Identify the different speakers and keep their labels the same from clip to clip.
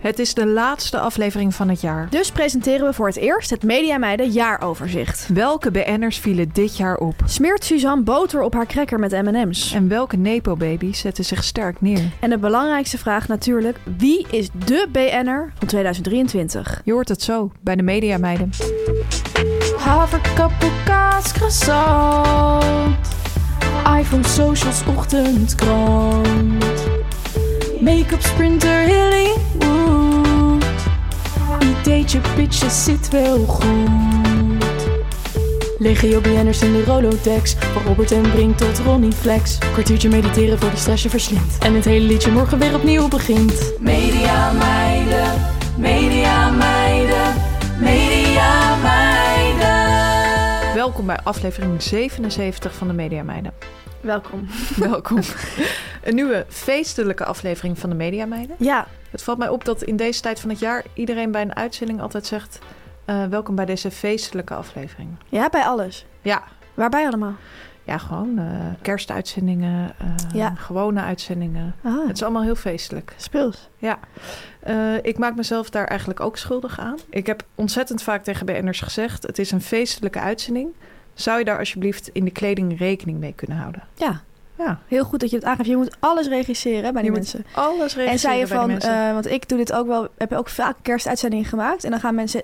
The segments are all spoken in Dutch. Speaker 1: Het is de laatste aflevering van het jaar.
Speaker 2: Dus presenteren we voor het eerst het Media Meiden jaaroverzicht.
Speaker 1: Welke BN'ers vielen dit jaar op?
Speaker 2: Smeert Suzanne boter op haar cracker met M&M's?
Speaker 1: En welke Nepo-baby's zetten zich sterk neer?
Speaker 2: En de belangrijkste vraag natuurlijk, wie is de BN'er van 2023?
Speaker 1: Je hoort het zo bij de Media Meiden.
Speaker 3: Haverkappelkaas, croissant. iPhone, socials, ochtendkrant. Make-up, sprinter, Hollywood. Ideetje, pitjes, zit wel goed. Legio BN'ers in de Rolodex. Van Robert en Brink tot Ronnie Flex. Kwartiertje mediteren voor de stress je verslindt. En het hele liedje morgen weer opnieuw begint. Media meiden, media meiden, media meiden.
Speaker 1: Welkom bij aflevering 77 van de Media Meiden.
Speaker 2: Welkom.
Speaker 1: Welkom. Een nieuwe feestelijke aflevering van de Media Meiden.
Speaker 2: Ja,
Speaker 1: Het valt mij op dat in deze tijd van het jaar iedereen bij een uitzending altijd zegt... eh, welkom bij deze feestelijke aflevering.
Speaker 2: ja, bij alles.
Speaker 1: Ja,
Speaker 2: Waarbij allemaal?
Speaker 1: ja gewoon eh, kerstuitzendingen, eh,
Speaker 2: Ja.
Speaker 1: gewone uitzendingen.
Speaker 2: Ah,
Speaker 1: Het is allemaal heel feestelijk.
Speaker 2: speels.
Speaker 1: Eh, ik maak mezelf daar eigenlijk ook schuldig aan. Ik heb ontzettend vaak tegen BN'ers gezegd... het is een feestelijke uitzending. Zou je daar alsjeblieft in de kleding rekening mee kunnen houden?
Speaker 2: Ja.
Speaker 1: Ja.
Speaker 2: Heel goed dat je het aangeeft. Je moet alles registreren hè, bij die
Speaker 1: Je moet
Speaker 2: mensen.
Speaker 1: Alles regisseren
Speaker 2: En zei je
Speaker 1: bij die
Speaker 2: van,
Speaker 1: mensen.
Speaker 2: eh, want ik doe dit ook wel, heb ook vaak kerstuitzendingen gemaakt. En dan gaan mensen,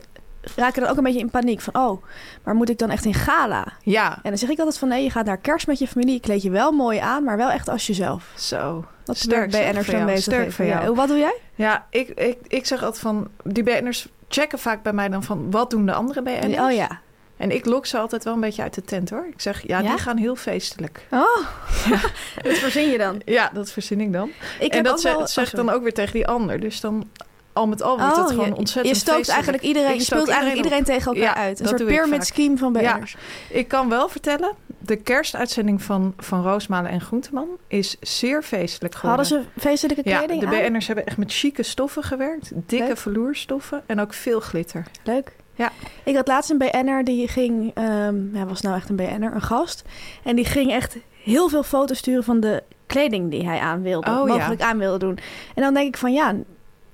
Speaker 2: raken dan ook een beetje in paniek. Van, oh, maar moet ik dan echt in gala?
Speaker 1: ja,
Speaker 2: En dan zeg ik altijd van nee, je gaat naar kerst met je familie. Je kleed je wel mooi aan, maar wel echt als jezelf.
Speaker 1: zo.
Speaker 2: Dat
Speaker 1: Sterk,
Speaker 2: sterk bij
Speaker 1: sterk
Speaker 2: NRC
Speaker 1: van jou,
Speaker 2: bezig.
Speaker 1: sterk
Speaker 2: heeft.
Speaker 1: van jou.
Speaker 2: Ja, wat doe jij?
Speaker 1: Ja, ik, ik, ik zeg altijd van... die BN'ers checken vaak bij mij dan van... wat doen de andere BN'ers?
Speaker 2: Oh ja.
Speaker 1: En ik lok ze altijd wel een beetje uit de tent hoor. Ik zeg, ja,
Speaker 2: Ja?
Speaker 1: die gaan heel feestelijk.
Speaker 2: Oh, dat verzin je dan.
Speaker 1: Ja, dat verzin ik dan.
Speaker 2: Ik
Speaker 1: en
Speaker 2: heb
Speaker 1: dat
Speaker 2: ook
Speaker 1: ze-
Speaker 2: wel...
Speaker 1: zeg ik
Speaker 2: oh,
Speaker 1: dan ook weer tegen die ander. Dus dan al met al wordt
Speaker 2: Oh,
Speaker 1: het gewoon
Speaker 2: je-
Speaker 1: ontzettend
Speaker 2: sorry. Je stookt
Speaker 1: feestelijk.
Speaker 2: eigenlijk iedereen,
Speaker 1: Ik
Speaker 2: je
Speaker 1: stook
Speaker 2: speelt eigenlijk
Speaker 1: iedereen
Speaker 2: iedereen tegen elkaar
Speaker 1: Ja,
Speaker 2: uit. Een
Speaker 1: dat
Speaker 2: soort
Speaker 1: doe ik
Speaker 2: pyramid
Speaker 1: vaak.
Speaker 2: scheme van
Speaker 1: Ja.
Speaker 2: BN'ers.
Speaker 1: Ik kan wel vertellen, de kerstuitzending van, van Roosmalen en Groenteman is zeer feestelijk geworden.
Speaker 2: Hadden ze feestelijke
Speaker 1: ja,
Speaker 2: kleding
Speaker 1: de
Speaker 2: aan?
Speaker 1: BN'ers hebben echt met chique stoffen gewerkt. Dikke
Speaker 2: Leuk.
Speaker 1: verloerstoffen en ook veel glitter.
Speaker 2: Leuk.
Speaker 1: Ja.
Speaker 2: Ik had laatst een BN'er die ging, ehm ja, was nou echt een BN'er, een gast. En die ging echt heel veel foto's sturen van de kleding die hij aan wilde,
Speaker 1: Oh, ja.
Speaker 2: mogelijk aan wilde doen. En dan denk ik van ja,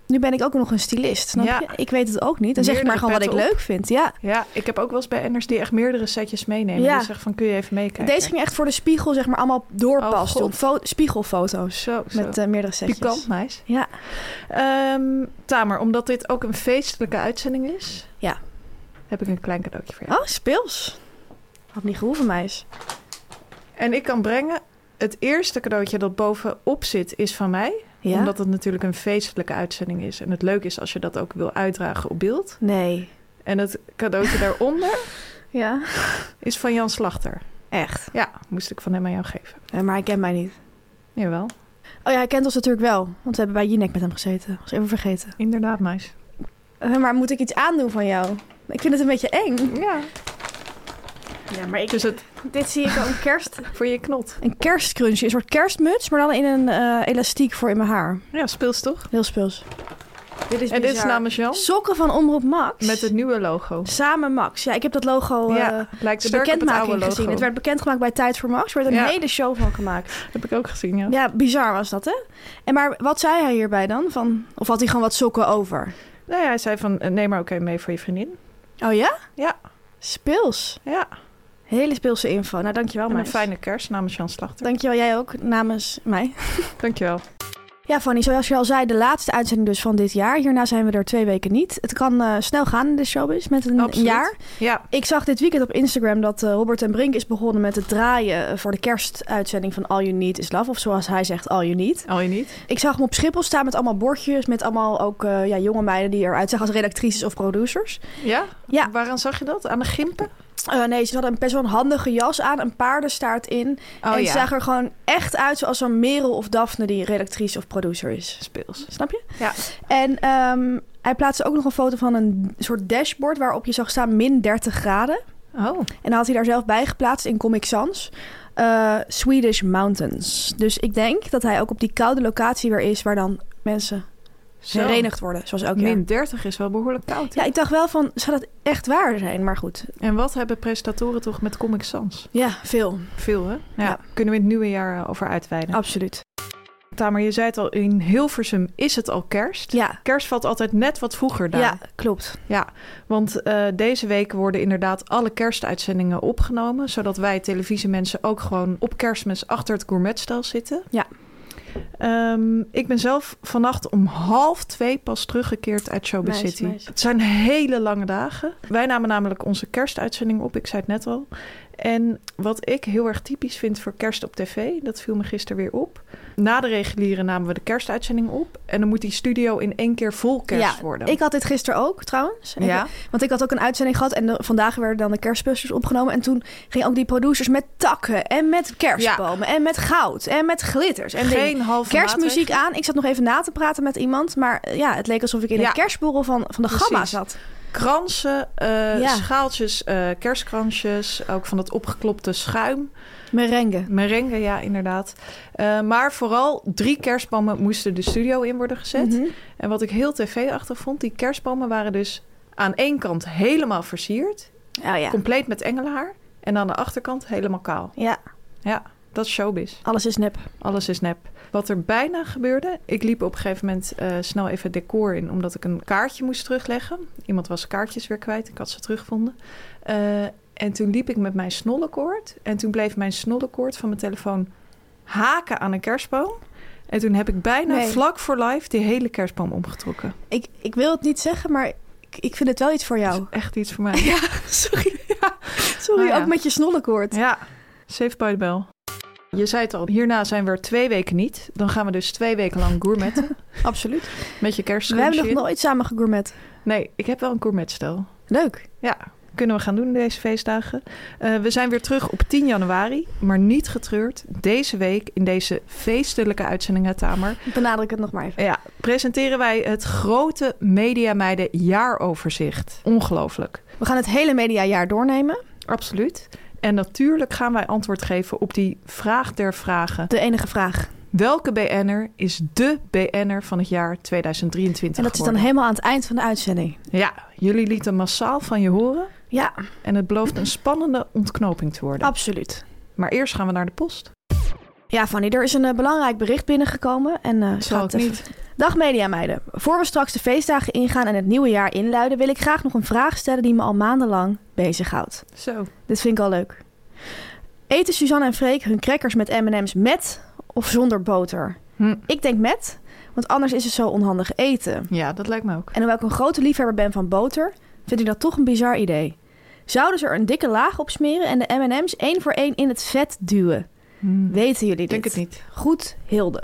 Speaker 2: nu ben ik ook nog een stylist. Snap
Speaker 1: Ja.
Speaker 2: je? Ik weet het ook niet. Dan zeg ik maar
Speaker 1: Meerdere
Speaker 2: gewoon wat ik
Speaker 1: petten
Speaker 2: leuk vind. Ja.
Speaker 1: Ja, ik heb ook wel eens BN'ers die echt meerdere setjes meenemen.
Speaker 2: Ja.
Speaker 1: Die zeggen van, kun je even meekijken?
Speaker 2: Deze ging echt voor de spiegel, zeg maar, allemaal
Speaker 1: Oh,
Speaker 2: doorpassen.
Speaker 1: God.
Speaker 2: op fo- spiegelfoto's
Speaker 1: Zo, zo.
Speaker 2: met eh, meerdere setjes.
Speaker 1: Pikant, meis.
Speaker 2: Ja.
Speaker 1: Ehm, Tamer, omdat dit ook een feestelijke uitzending is...
Speaker 2: Ja.
Speaker 1: heb ik een klein cadeautje voor jou.
Speaker 2: Oh, speels. Had niet gehoeven, meis.
Speaker 1: En ik kan brengen... Het eerste cadeautje dat bovenop zit is van mij.
Speaker 2: Ja?
Speaker 1: Omdat het natuurlijk een feestelijke uitzending is. En het leuke is als je dat ook wil uitdragen op beeld.
Speaker 2: Nee.
Speaker 1: En het cadeautje daaronder
Speaker 2: Ja?
Speaker 1: is van Jan Slachter.
Speaker 2: Echt.
Speaker 1: Ja, moest ik van hem aan jou geven.
Speaker 2: Nee, maar hij kent mij niet.
Speaker 1: Jawel.
Speaker 2: Oh ja, hij kent ons natuurlijk wel. Want we hebben bij Jinek met hem gezeten. Was even vergeten.
Speaker 1: Inderdaad, meis.
Speaker 2: Eh, Maar moet ik iets aandoen van jou? Ik vind het een beetje eng.
Speaker 1: Ja.
Speaker 2: Ja, maar
Speaker 1: Dus het
Speaker 2: dit zie ik al een kerst...
Speaker 1: voor je knot.
Speaker 2: Een kerstcrunchje, een soort kerstmuts, maar dan in een eh, elastiek voor in mijn haar.
Speaker 1: Ja, speels toch?
Speaker 2: Heel speels. Dit is
Speaker 1: En dit is namens Jan.
Speaker 2: Sokken van Omroep Max.
Speaker 1: Met het nieuwe logo.
Speaker 2: Samen Max. Ja, ik heb dat logo... eh
Speaker 1: ja, het lijkt
Speaker 2: De
Speaker 1: sterk op het oude
Speaker 2: bekendmaking
Speaker 1: logo.
Speaker 2: gezien. Het werd bekendgemaakt bij Tijd voor Max. Er werd een
Speaker 1: Ja.
Speaker 2: hele show van gemaakt.
Speaker 1: Heb ik ook gezien, ja.
Speaker 2: Ja, bizar was dat, hè? En maar wat zei hij hierbij dan? Van, of had hij gewoon wat sokken over?
Speaker 1: Nou ja, hij zei van, eh, neem maar ook even mee voor je vriendin.
Speaker 2: Oh ja?
Speaker 1: Ja.
Speaker 2: Speels.
Speaker 1: Ja,
Speaker 2: Hele speelse info. Nou, dankjewel,
Speaker 1: en een
Speaker 2: Oh, meis.
Speaker 1: fijne kerst namens Jan Slachter.
Speaker 2: Dankjewel, jij ook namens mij.
Speaker 1: Dankjewel.
Speaker 2: Ja, Fanny, zoals je al zei, de laatste uitzending dus van dit jaar. Hierna zijn we er twee weken niet. Het kan eh, snel gaan in de showbiz met een
Speaker 1: Absoluut.
Speaker 2: jaar.
Speaker 1: Ja,
Speaker 2: Ik zag dit weekend op Instagram dat eh, Robert en Brink is begonnen met het draaien eh, voor de kerstuitzending van All You Need Is Love. Of zoals hij zegt, All You Need.
Speaker 1: al je niet.
Speaker 2: Ik zag hem op Schiphol staan met allemaal bordjes, met allemaal ook eh, ja, jonge meiden die eruit zagen als redactrices of producers.
Speaker 1: Ja?
Speaker 2: Ja.
Speaker 1: Waaraan zag je dat? Aan de gimpen?
Speaker 2: Eh, nee, ze hadden een best wel een handige jas aan, een paardenstaart in.
Speaker 1: Oh
Speaker 2: en
Speaker 1: ja.
Speaker 2: ze zag er gewoon echt uit zoals een Merel of Daphne die redactrice of producer is.
Speaker 1: Speels.
Speaker 2: Snap je?
Speaker 1: Ja.
Speaker 2: En ehm, hij plaatste ook nog een foto van een soort dashboard waarop je zag staan min 30 graden.
Speaker 1: Oh.
Speaker 2: En dan had hij daar zelf bij geplaatst in Comic Sans. eh, Swedish Mountains. Dus ik denk dat hij ook op die koude locatie weer is waar dan mensen
Speaker 1: Zo.
Speaker 2: verenigd worden, zoals elk jaar.
Speaker 1: Min 30 is wel behoorlijk koud. hè?
Speaker 2: Ja, ik dacht wel van, zou dat echt waar zijn? Maar goed,
Speaker 1: En wat hebben presentatoren toch met Comic Sans?
Speaker 2: ja, veel.
Speaker 1: Veel, hè? Ja.
Speaker 2: Ja. Oh.
Speaker 1: Kunnen we in het nieuwe jaar eh, over uitweiden.
Speaker 2: Absoluut.
Speaker 1: Tamer, je zei het al, in Hilversum is het al kerst.
Speaker 2: Ja,
Speaker 1: Kerst valt altijd net wat vroeger daar.
Speaker 2: ja klopt.
Speaker 1: Ja, want eh, deze week worden inderdaad alle kerstuitzendingen opgenomen. Zodat wij televisiemensen ook gewoon op kerstmis achter het gourmetstel zitten.
Speaker 2: Ja.
Speaker 1: Ehm, ik ben zelf vannacht om half twee pas teruggekeerd uit Showbiz
Speaker 2: Meis,
Speaker 1: City.
Speaker 2: meis.
Speaker 1: Het zijn hele lange dagen. Wij namen namelijk onze kerstuitzending op, ik zei het net al. En wat ik heel erg typisch vind voor kerst op tv, dat viel me gisteren weer op. Na de reguliere namen we de kerstuitzending op. En dan moet die studio in één keer vol kerst
Speaker 2: ja,
Speaker 1: worden.
Speaker 2: Ik had dit gisteren ook trouwens. En
Speaker 1: Ja?
Speaker 2: ik- Want ik had ook een uitzending gehad en de- vandaag werden dan de kerstbusters opgenomen. En toen gingen ook die producers met takken en met kerstbomen en met goud en met glitters. En dingen.
Speaker 1: Geen halve
Speaker 2: kerstmuziek aan. Ik zat nog even na te praten met iemand. Maar eh, ja, het leek alsof ik in
Speaker 1: Ja.
Speaker 2: een kerstborrel van, van de
Speaker 1: Precies.
Speaker 2: gamma zat.
Speaker 1: maatregelen. Kransen, eh,
Speaker 2: Ja.
Speaker 1: schaaltjes, eh, kerstkransjes. Ook van dat opgeklopte schuim.
Speaker 2: Merengue.
Speaker 1: Merengue, ja, inderdaad. Eh, maar vooral drie kerstbomen moesten de studio in worden gezet.
Speaker 2: Mhm.
Speaker 1: En wat ik heel tv-achtig vond, die kerstbomen waren dus aan één kant helemaal versierd.
Speaker 2: Oh ja.
Speaker 1: Compleet met engelhaar. En aan de achterkant helemaal kaal.
Speaker 2: ja,
Speaker 1: Ja, dat is showbiz.
Speaker 2: alles is nep.
Speaker 1: Alles is nep. Wat er bijna gebeurde, ik liep op een gegeven moment eh, snel even het decor in, omdat ik een kaartje moest terugleggen. Iemand was kaartjes weer kwijt, ik had ze teruggevonden. Eh, en toen liep ik met mijn snollekoord. En toen bleef mijn snollekoord van mijn telefoon haken aan een kerstboom. En toen heb ik bijna
Speaker 2: Nee.
Speaker 1: vlak voor live die hele kerstboom omgetrokken.
Speaker 2: Ik, ik wil het niet zeggen, maar ik, ik vind het wel iets voor jou.
Speaker 1: Echt iets voor mij.
Speaker 2: Ja, sorry. Sorry,
Speaker 1: Oh ja.
Speaker 2: ook met je snollekoord.
Speaker 1: Ja, safe by the bell. Je zei het al, hierna zijn we er twee weken niet. Dan gaan we dus twee weken lang gourmetten
Speaker 2: Absoluut.
Speaker 1: met je kerst.
Speaker 2: We hebben nog nooit samen gegourmet.
Speaker 1: Nee, ik heb wel een gourmetstel.
Speaker 2: Leuk.
Speaker 1: Ja, kunnen we gaan doen deze feestdagen. Eh, we zijn weer terug op 10 januari, maar niet getreurd. Deze week in deze feestelijke uitzending uit Tamer.
Speaker 2: Benadruk het nog maar even.
Speaker 1: Ja, presenteren wij het grote Mediameiden jaaroverzicht. Ongelooflijk.
Speaker 2: We gaan het hele mediajaar doornemen.
Speaker 1: Absoluut. En natuurlijk gaan wij antwoord geven op die vraag der vragen.
Speaker 2: De enige vraag.
Speaker 1: Welke BN'er is de BN'er van het jaar 2023
Speaker 2: En dat is dan
Speaker 1: geworden?
Speaker 2: helemaal aan het eind van de uitzending.
Speaker 1: Ja, jullie lieten massaal van je horen.
Speaker 2: Ja,
Speaker 1: En het belooft een spannende ontknoping te worden.
Speaker 2: absoluut.
Speaker 1: Maar eerst gaan we naar de post.
Speaker 2: Ja, Fanny, er is een eh, belangrijk bericht binnengekomen. En, eh, ik ga
Speaker 1: Zal
Speaker 2: het
Speaker 1: ik
Speaker 2: even-
Speaker 1: niet.
Speaker 2: Dag mediameiden. Voor we straks de feestdagen ingaan en het nieuwe jaar inluiden... wil ik graag nog een vraag stellen die me al maandenlang bezighoudt.
Speaker 1: Zo.
Speaker 2: Dit vind ik al leuk. Eten Suzanne en Freek hun crackers met M&M's met of zonder boter?
Speaker 1: Hm.
Speaker 2: Ik denk met, want anders is het zo onhandig eten.
Speaker 1: Ja, dat lijkt me ook.
Speaker 2: En hoewel ik een grote liefhebber ben van boter, vind ik dat toch een bizar idee. Zouden ze er een dikke laag op smeren en de M&M's één voor één in het vet duwen? Weten jullie
Speaker 1: Ik
Speaker 2: dit?
Speaker 1: Hmm. denk het niet.
Speaker 2: Goed, Hilde.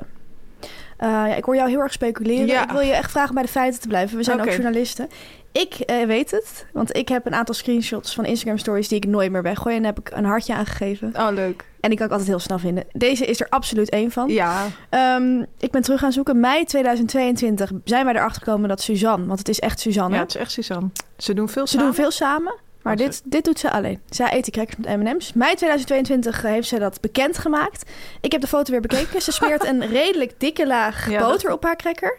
Speaker 2: Eh, ja, ik hoor jou heel erg speculeren.
Speaker 1: Ja.
Speaker 2: Ik wil je echt vragen bij de feiten te blijven. We zijn ook
Speaker 1: Oké.
Speaker 2: journalisten. Ik eh, weet het, want ik heb een aantal screenshots van Instagram stories die ik nooit meer weggooi. En daar heb ik een hartje aangegeven.
Speaker 1: Oh, leuk.
Speaker 2: En die kan ik altijd heel snel vinden. Deze is er absoluut één van.
Speaker 1: Ja.
Speaker 2: Ehm, ik ben terug gaan zoeken. Mei 2022 zijn wij erachter gekomen dat Suzanne, want het is echt Suzanne.
Speaker 1: ja, het is echt Suzanne. Ze doen veel
Speaker 2: Ze doen veel samen, maar
Speaker 1: Oh,
Speaker 2: dit, dit doet ze alleen. Zij eet die crackers met M&M's. Mei 2022 heeft zij dat bekendgemaakt. Ik heb de foto weer bekeken. Ze smeert een redelijk dikke laag
Speaker 1: Ja,
Speaker 2: boter op haar cracker.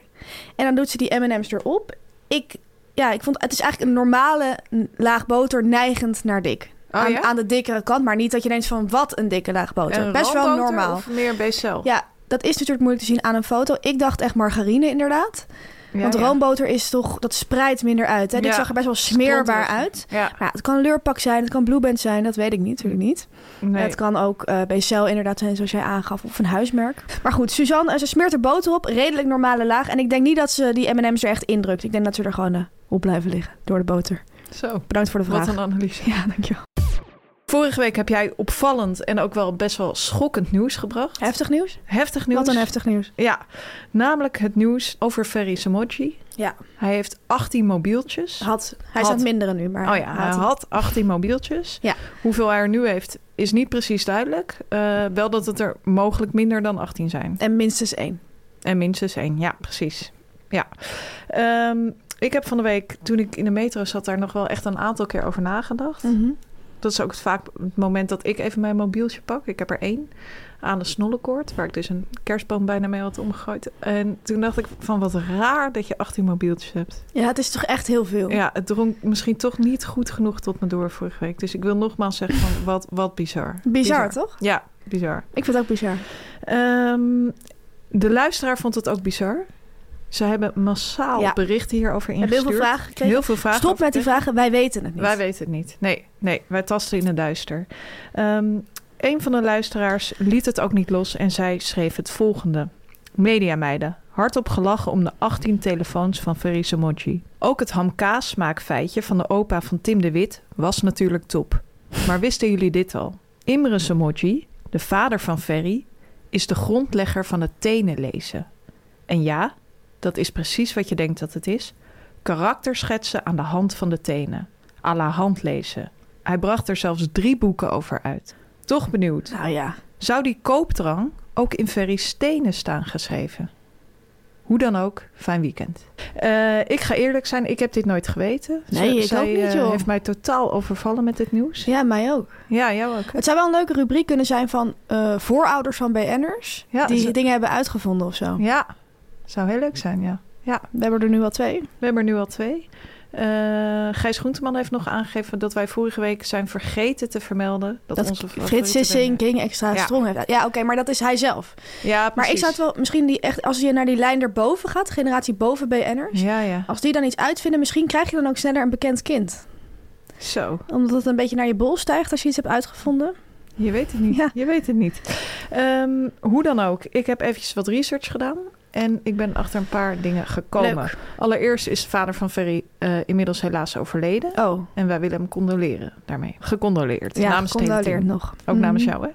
Speaker 2: En dan doet ze die M&M's erop. Ik, ja, ik vond, het is eigenlijk een normale n- laag boter neigend naar dik.
Speaker 1: Oh,
Speaker 2: aan,
Speaker 1: ja?
Speaker 2: aan de dikkere kant, maar niet dat je denkt van wat een dikke laag boter.
Speaker 1: En
Speaker 2: Best wel
Speaker 1: roomboter
Speaker 2: normaal.
Speaker 1: Of meer BCL.
Speaker 2: Ja, dat is natuurlijk moeilijk te zien aan een foto. Ik dacht echt margarine inderdaad.
Speaker 1: Ja,
Speaker 2: Want
Speaker 1: ja.
Speaker 2: roomboter is toch, dat spreidt minder uit. Hè? Dit
Speaker 1: Ja.
Speaker 2: zag er best wel smeerbaar
Speaker 1: Sponterig.
Speaker 2: uit.
Speaker 1: Ja,
Speaker 2: Maar ja, Nou, het kan Leurpak zijn, het kan Blueband zijn, dat weet ik niet, natuurlijk niet.
Speaker 1: nee.
Speaker 2: Het kan ook eh BCL inderdaad zijn, zoals jij aangaf, of een huismerk. Maar goed, Suzanne, eh, ze smeert er boter op, redelijk normale laag. En ik denk niet dat ze die M&M's er echt indrukt. Ik denk dat ze er gewoon eh, op blijven liggen door de boter.
Speaker 1: Zo,
Speaker 2: Bedankt voor de vraag.
Speaker 1: wat een analyse.
Speaker 2: Ja, dankjewel.
Speaker 1: Vorige week heb jij opvallend en ook wel best wel schokkend nieuws gebracht.
Speaker 2: Heftig nieuws?
Speaker 1: Heftig nieuws.
Speaker 2: Wat een heftig nieuws.
Speaker 1: Ja, namelijk het nieuws over Ferry Samoji.
Speaker 2: Ja.
Speaker 1: Hij heeft 18 mobieltjes.
Speaker 2: Had, hij
Speaker 1: Had.
Speaker 2: is aan het minderen nu, maar...
Speaker 1: Oh ja, hij had 18 mobieltjes.
Speaker 2: Ja.
Speaker 1: Hoeveel hij er nu heeft, is niet precies duidelijk. Eh, wel dat het er mogelijk minder dan 18 zijn.
Speaker 2: En minstens één.
Speaker 1: En minstens één, ja, precies. Ja. Ehm, ik heb van de week, toen ik in de metro zat, daar nog wel echt een aantal keer over nagedacht.
Speaker 2: Mm.
Speaker 1: Dat is ook het vaak het moment dat ik even mijn mobieltje pak. Ik heb er één aan de snollekoord, waar ik dus een kerstboom bijna mee had omgegooid. En toen dacht ik van wat raar dat je 18 mobieltjes hebt.
Speaker 2: Ja, het is toch echt heel veel.
Speaker 1: Ja, het drong misschien toch niet goed genoeg tot me door vorige week. Dus ik wil nogmaals zeggen van wat, wat bizar.
Speaker 2: Bizar, toch?
Speaker 1: Ja, bizar.
Speaker 2: Ik vind het ook bizar.
Speaker 1: Ehm, de luisteraar vond het ook bizar. Ze hebben massaal
Speaker 2: Ja.
Speaker 1: berichten hierover
Speaker 2: Ik heb
Speaker 1: ingestuurd.
Speaker 2: heel veel vragen gekregen.
Speaker 1: Heel veel vragen
Speaker 2: Stop
Speaker 1: over
Speaker 2: met die
Speaker 1: gekregen.
Speaker 2: vragen, wij weten het niet.
Speaker 1: Wij weten het niet. Nee, nee wij tasten in het duister. Ehm, een van de luisteraars liet het ook niet los en zij schreef het volgende. Mediameiden, hardop gelachen om de 18 telefoons van Ferris Mochi. Ook het hamkaasmaakfeitje van de opa van Tim de Wit was natuurlijk top. Maar wisten jullie dit al? Imre Samoji, de vader van Ferry, is de grondlegger van het tenen lezen. En ja, dat is precies wat je denkt dat het is. Karakter schetsen aan de hand van de tenen. À la hand lezen. Hij bracht er zelfs drie boeken over uit. Toch benieuwd.
Speaker 2: Nou ja,
Speaker 1: Zou die koopdrang ook in Ferry's tenen staan geschreven? Hoe dan ook, fijn weekend. Eh, ik ga eerlijk zijn, ik heb dit nooit geweten.
Speaker 2: Nee,
Speaker 1: Ze-
Speaker 2: ik
Speaker 1: zij,
Speaker 2: ook niet,
Speaker 1: eh,
Speaker 2: joh.
Speaker 1: heeft mij totaal overvallen met dit nieuws.
Speaker 2: ja, mij ook.
Speaker 1: Ja, jou ook.
Speaker 2: Het zou wel een leuke rubriek kunnen zijn van eh, voorouders van BN'ers.
Speaker 1: Ja,
Speaker 2: die
Speaker 1: zo-
Speaker 2: dingen hebben uitgevonden of zo.
Speaker 1: Ja, zou heel leuk zijn, ja.
Speaker 2: We hebben er nu al twee.
Speaker 1: We hebben er nu al twee. Eh, Gijs Groenteman heeft nog aangegeven dat wij vorige week zijn vergeten te vermelden. Dat,
Speaker 2: Dat,
Speaker 1: onze favoriete
Speaker 2: Frits Sissing,
Speaker 1: bende-
Speaker 2: King Extra
Speaker 1: Ja.
Speaker 2: Strong heeft. Ja, oké, maar dat is hij zelf.
Speaker 1: Ja,
Speaker 2: Maar ik
Speaker 1: precies.
Speaker 2: zou het wel misschien die echt, als je naar die lijn erboven gaat, generatie boven BN'ers.
Speaker 1: Ja, ja.
Speaker 2: Als die dan iets uitvinden, misschien krijg je dan ook sneller een bekend kind.
Speaker 1: Zo.
Speaker 2: Omdat het een beetje naar je bol stijgt als je iets hebt uitgevonden.
Speaker 1: Je weet het niet.
Speaker 2: Ja.
Speaker 1: Je weet het niet. Ehm, hoe dan ook, ik heb eventjes wat research gedaan. En ik ben achter een paar dingen gekomen.
Speaker 2: Leuk.
Speaker 1: Allereerst is de vader van Ferry eh, inmiddels helaas overleden.
Speaker 2: Oh,
Speaker 1: En wij willen hem condoleren daarmee. Gecondoleerd.
Speaker 2: ja,
Speaker 1: namens het hele
Speaker 2: condoleer
Speaker 1: team.
Speaker 2: nog.
Speaker 1: Ook namens
Speaker 2: Mm,
Speaker 1: jou, hè?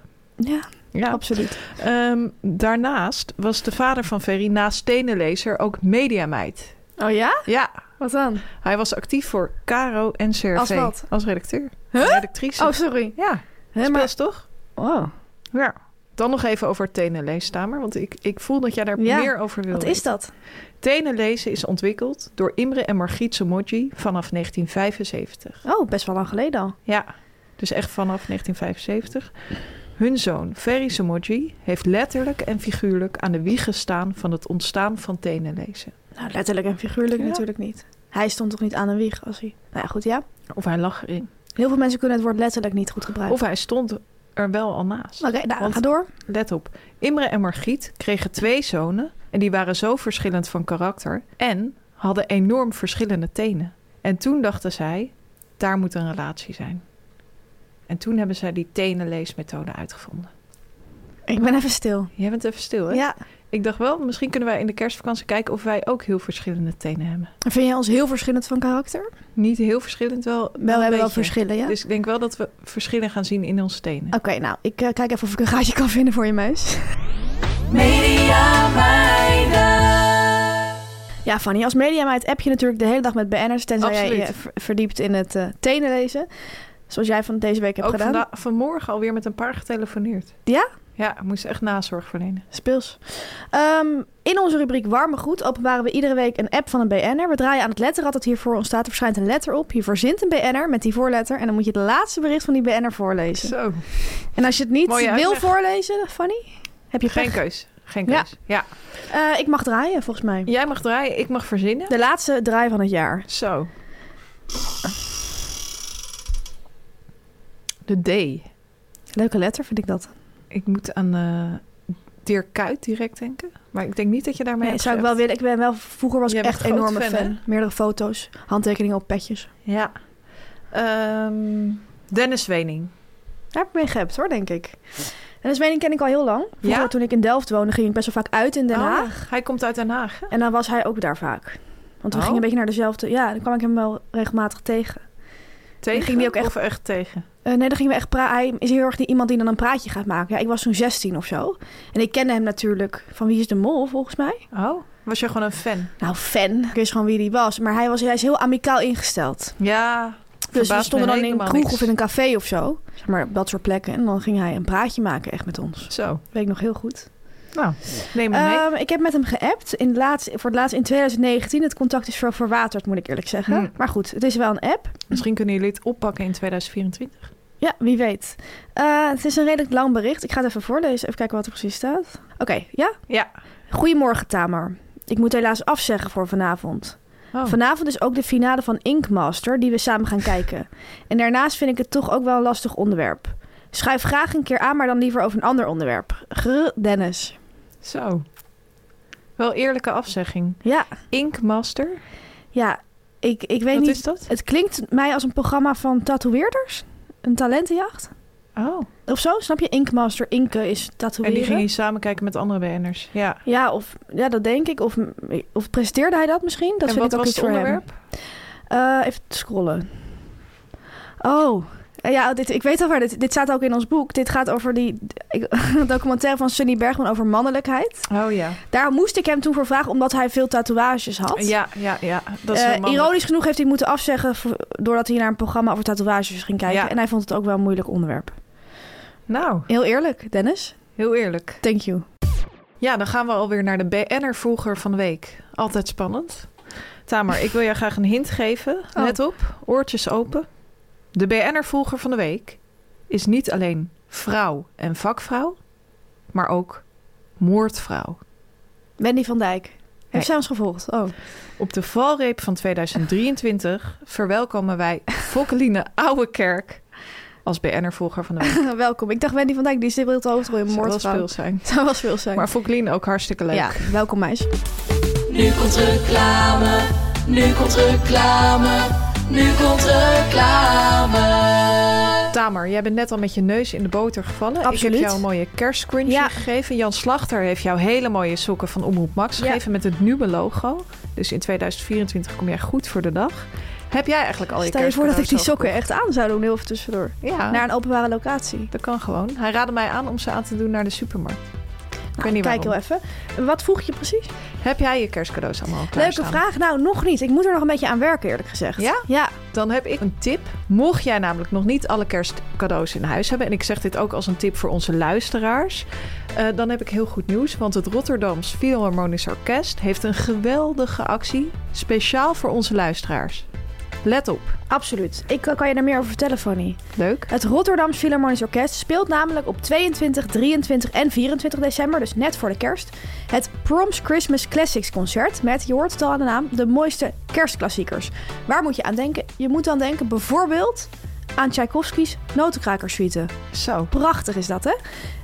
Speaker 2: Ja,
Speaker 1: Ja.
Speaker 2: absoluut.
Speaker 1: Ehm, daarnaast was de vader van Ferry naast stenenlezer ook mediameid.
Speaker 2: Oh ja?
Speaker 1: Ja,
Speaker 2: Wat dan?
Speaker 1: hij was actief voor Caro en CRV.
Speaker 2: Als wat?
Speaker 1: Als redacteur.
Speaker 2: Huh?
Speaker 1: Redactrice.
Speaker 2: Oh, sorry.
Speaker 1: Ja,
Speaker 2: Hè,
Speaker 1: maar...
Speaker 2: maar, Oh,
Speaker 1: toch?
Speaker 2: wow.
Speaker 1: Ja. Dan nog even over tenenleestamer, want ik, ik voel dat jij daar
Speaker 2: Ja,
Speaker 1: meer over wil.
Speaker 2: Wat is dat?
Speaker 1: Tenenlezen is ontwikkeld door Imre en Margriet Somogyi vanaf 1975.
Speaker 2: Oh, best wel lang geleden al.
Speaker 1: Ja, dus echt vanaf 1975. Hun zoon, Ferry Somogyi, heeft letterlijk en figuurlijk aan de wieg gestaan van het ontstaan van tenenlezen.
Speaker 2: Nou, letterlijk en figuurlijk
Speaker 1: Ja.
Speaker 2: natuurlijk niet. Hij stond toch niet aan een wieg als hij... Nou ja, goed, ja.
Speaker 1: Of hij lag erin.
Speaker 2: Heel veel mensen kunnen het woord letterlijk niet goed gebruiken.
Speaker 1: Of hij stond er wel al naast.
Speaker 2: Oké, nou,
Speaker 1: Want-
Speaker 2: ga door.
Speaker 1: Let op, Imre en Margriet kregen twee zonen en die waren zo verschillend van karakter en hadden enorm verschillende tenen. En toen dachten zij, daar moet een relatie zijn. En toen hebben zij die tenenleesmethode uitgevonden.
Speaker 2: Ik ben even stil.
Speaker 1: Jij bent even stil, hè?
Speaker 2: Ja,
Speaker 1: Ik dacht wel, misschien kunnen wij in de kerstvakantie kijken of wij ook heel verschillende tenen hebben.
Speaker 2: vind jij ons heel verschillend van karakter?
Speaker 1: Niet heel verschillend, wel.
Speaker 2: Wel, we hebben wel
Speaker 1: beetje.
Speaker 2: verschillen, ja?
Speaker 1: Dus ik denk wel dat we verschillen gaan zien in onze tenen.
Speaker 2: Oké, nou, ik eh, kijk even of ik een gaatje kan vinden voor je muis.
Speaker 3: Media meiden.
Speaker 2: Ja, Fanny, als mediameid app je natuurlijk de hele dag met BN'ers... tenzij jij
Speaker 1: Absoluut.
Speaker 2: je ver- verdiept in het eh tenenlezen. Zoals jij van deze week hebt
Speaker 1: ook
Speaker 2: gedaan.
Speaker 1: vanda- vanmorgen alweer met een paar getelefoneerd.
Speaker 2: Ja?
Speaker 1: Ja, ik moest echt nazorg verlenen.
Speaker 2: Speels. Ehm, in onze rubriek Warme Goed openbaren we iedere week een app van een BN'er. We draaien aan het letterrad dat hiervoor ontstaat. Er verschijnt een letter op. Hiervoor zint een BN'er met die voorletter. En dan moet je het laatste bericht van die BN'er voorlezen.
Speaker 1: Zo.
Speaker 2: En als je het niet
Speaker 1: Mooie
Speaker 2: wil
Speaker 1: uitleg.
Speaker 2: voorlezen, Fanny, heb je
Speaker 1: Geen
Speaker 2: pech.
Speaker 1: keus. Geen
Speaker 2: Ja.
Speaker 1: keus. Ja.
Speaker 2: Eh, ik mag draaien, volgens mij.
Speaker 1: Jij mag draaien, ik mag verzinnen.
Speaker 2: De laatste draai van het jaar.
Speaker 1: Zo. De D.
Speaker 2: Leuke letter, vind ik dat.
Speaker 1: Ik moet aan eh, Dirk Kuyt direct denken. Maar ik denk niet dat je daarmee
Speaker 2: Nee,
Speaker 1: hebt
Speaker 2: zou ik wel
Speaker 1: geappt.
Speaker 2: willen. Ik ben wel, vroeger was
Speaker 1: Jij
Speaker 2: ik
Speaker 1: bent
Speaker 2: echt
Speaker 1: groot
Speaker 2: enorme
Speaker 1: fan,
Speaker 2: fan.
Speaker 1: hè?
Speaker 2: Meerdere foto's, handtekeningen op petjes.
Speaker 1: Ja. Ehm, Dennis Wening.
Speaker 2: Daar heb ik mee gehept hoor, denk ik. En dat mening ken ik al heel lang. Vroeger,
Speaker 1: Ja?
Speaker 2: toen ik in Delft woonde, ging ik best wel vaak uit in Den
Speaker 1: Oh,
Speaker 2: Haag.
Speaker 1: hij komt uit Den Haag. hè?
Speaker 2: En dan was hij ook daar vaak. Want we
Speaker 1: Oh.
Speaker 2: gingen een beetje naar dezelfde... Ja, dan kwam ik hem wel regelmatig tegen.
Speaker 1: Tegen
Speaker 2: ging die ook echt-
Speaker 1: of echt tegen?
Speaker 2: Eh, nee, dan gingen we echt praten. Hij is heel erg die, iemand die dan een praatje gaat maken. Ja, ik was toen 16 of zo. En ik kende hem natuurlijk van Wie is de Mol, volgens mij.
Speaker 1: Oh, was je gewoon een fan?
Speaker 2: Nou, fan. Ik wist gewoon wie die was. Maar hij, was, hij is heel amicaal ingesteld.
Speaker 1: Ja.
Speaker 2: Dus we
Speaker 1: Verbaast
Speaker 2: stonden
Speaker 1: me
Speaker 2: dan in een
Speaker 1: helemaal
Speaker 2: kroeg
Speaker 1: niks.
Speaker 2: of in een café of zo. Zeg maar op dat soort plekken. En dan ging hij een praatje maken echt met ons.
Speaker 1: Zo.
Speaker 2: Weet ik nog heel goed.
Speaker 1: Nou, neem me mee.
Speaker 2: Ehm, ik heb met hem geappt. In het laatst, voor het laatst in 2019. Het contact is wel verwaterd, moet ik eerlijk zeggen.
Speaker 1: Hmm.
Speaker 2: Maar goed, het is wel een app.
Speaker 1: Misschien kunnen jullie het oppakken in 2024.
Speaker 2: Ja, wie weet. Eh, het is een redelijk lang bericht. Ik ga het even voorlezen. Even kijken wat er precies staat. Oké, ja?
Speaker 1: Ja.
Speaker 2: Goedemorgen, Tamer. Ik moet helaas afzeggen voor vanavond.
Speaker 1: Oh.
Speaker 2: Vanavond is ook de finale van Inkmaster, die we samen gaan kijken. En daarnaast vind ik het toch ook wel een lastig onderwerp. Schuif graag een keer aan, maar dan liever over een ander onderwerp. Grr, Dennis.
Speaker 1: Zo. Wel eerlijke afzegging.
Speaker 2: Ja,
Speaker 1: Inkmaster.
Speaker 2: ja. Ik, ik weet
Speaker 1: Wat
Speaker 2: niet.
Speaker 1: is dat?
Speaker 2: Het klinkt mij als een programma van tatoeëerders. Een talentenjacht.
Speaker 1: Oh.
Speaker 2: Of zo, snap je? Inkmaster, inken is
Speaker 1: En
Speaker 2: tatoeëren.
Speaker 1: die ging je samen kijken met andere BN'ers. Ja.
Speaker 2: Ja, of, ja, dat denk ik. Of, of presenteerde hij dat misschien? Dat
Speaker 1: en
Speaker 2: vind
Speaker 1: wat
Speaker 2: ik ook
Speaker 1: was
Speaker 2: iets
Speaker 1: het
Speaker 2: voor hem.
Speaker 1: onderwerp?
Speaker 2: Eh, even scrollen. Oh, Eh, ja, dit, ik weet al waar dit... Dit staat ook in ons boek. Dit gaat over die ik- documentaire van Sunny Bergman over mannelijkheid.
Speaker 1: Oh ja.
Speaker 2: Daar moest ik hem toen voor vragen, omdat hij veel tatoeages had.
Speaker 1: Ja, ja, ja. Dat is
Speaker 2: Eh,
Speaker 1: wel mannelijk.
Speaker 2: ironisch genoeg heeft hij moeten afzeggen... v- doordat hij naar een programma over tatoeages ging kijken.
Speaker 1: Ja.
Speaker 2: En hij vond het ook wel een moeilijk onderwerp.
Speaker 1: Nou,
Speaker 2: Heel eerlijk, Dennis.
Speaker 1: heel eerlijk.
Speaker 2: Thank you.
Speaker 1: Ja, dan gaan we alweer naar de BN'er vroeger van de week. Altijd spannend. Tamer, ik wil jou graag een hint geven.
Speaker 2: Oh.
Speaker 1: Let op, oortjes open. De BN'er vroeger van de week is niet alleen vrouw en vakvrouw, maar ook moordvrouw.
Speaker 2: Wendy van Dijk. Heeft
Speaker 1: Nee.
Speaker 2: zij ons gevolgd? Oh.
Speaker 1: Op de valreep van 2023 verwelkomen wij Fokkeline Ouwekerk als BN'er vroeger van de week.
Speaker 2: Welkom. Ik dacht Wendy van Dijk, die is de hoofdrol in
Speaker 1: Zou wel
Speaker 2: Moordvrouw.
Speaker 1: speels zijn.
Speaker 2: Zou wel veel zijn.
Speaker 1: Maar Fokkeline ook hartstikke leuk.
Speaker 2: ja, welkom meis.
Speaker 3: Nu komt reclame, nu komt reclame, nu komt reclame.
Speaker 1: Tamer, jij bent net al met je neus in de boter gevallen. Ik
Speaker 2: Absoluut.
Speaker 1: heb jou een mooie kerstcrunchie
Speaker 2: Ja.
Speaker 1: gegeven. Jan Slachter heeft jou hele mooie sokken van Omroep Max
Speaker 2: Ja.
Speaker 1: gegeven met het nieuwe logo. Dus in 2024 kom jij goed voor de dag. Heb jij eigenlijk al je
Speaker 2: Stel je voor dat ik die
Speaker 1: kerstcadeaus al
Speaker 2: sokken echt aan zou doen, heel even tussendoor.
Speaker 1: gekocht? Ja,
Speaker 2: Naar een openbare locatie.
Speaker 1: dat kan gewoon. Hij raadde mij aan om ze aan te doen naar de supermarkt. Ik weet
Speaker 2: Nou,
Speaker 1: niet
Speaker 2: kijk
Speaker 1: waarom.
Speaker 2: heel even. Wat vroeg je precies?
Speaker 1: Heb jij je kerstcadeaus allemaal al
Speaker 2: Leuke
Speaker 1: klaarstaan?
Speaker 2: vraag. Nou, nog niet. Ik moet er nog een beetje aan werken, eerlijk gezegd.
Speaker 1: Ja?
Speaker 2: Ja.
Speaker 1: Dan heb ik een tip. Mocht jij namelijk nog niet alle kerstcadeaus in huis hebben, en ik zeg dit ook als een tip voor onze luisteraars, eh, dan heb ik heel goed nieuws. Want het Rotterdams Philharmonisch Orkest heeft een geweldige actie speciaal voor onze luisteraars. Let op.
Speaker 2: Absoluut. Ik eh, kan je daar meer over vertellen, Fanny.
Speaker 1: Leuk.
Speaker 2: Het Rotterdams Philharmonisch Orkest speelt namelijk op 22, 23 en 24 december, dus net voor de kerst, het Proms Christmas Classics Concert met, je hoort het al aan de naam, de mooiste kerstklassiekers. Waar moet je aan denken? Je moet dan denken bijvoorbeeld aan Tchaikovsky's Notenkrakersuite.
Speaker 1: Zo.
Speaker 2: Prachtig is dat, hè?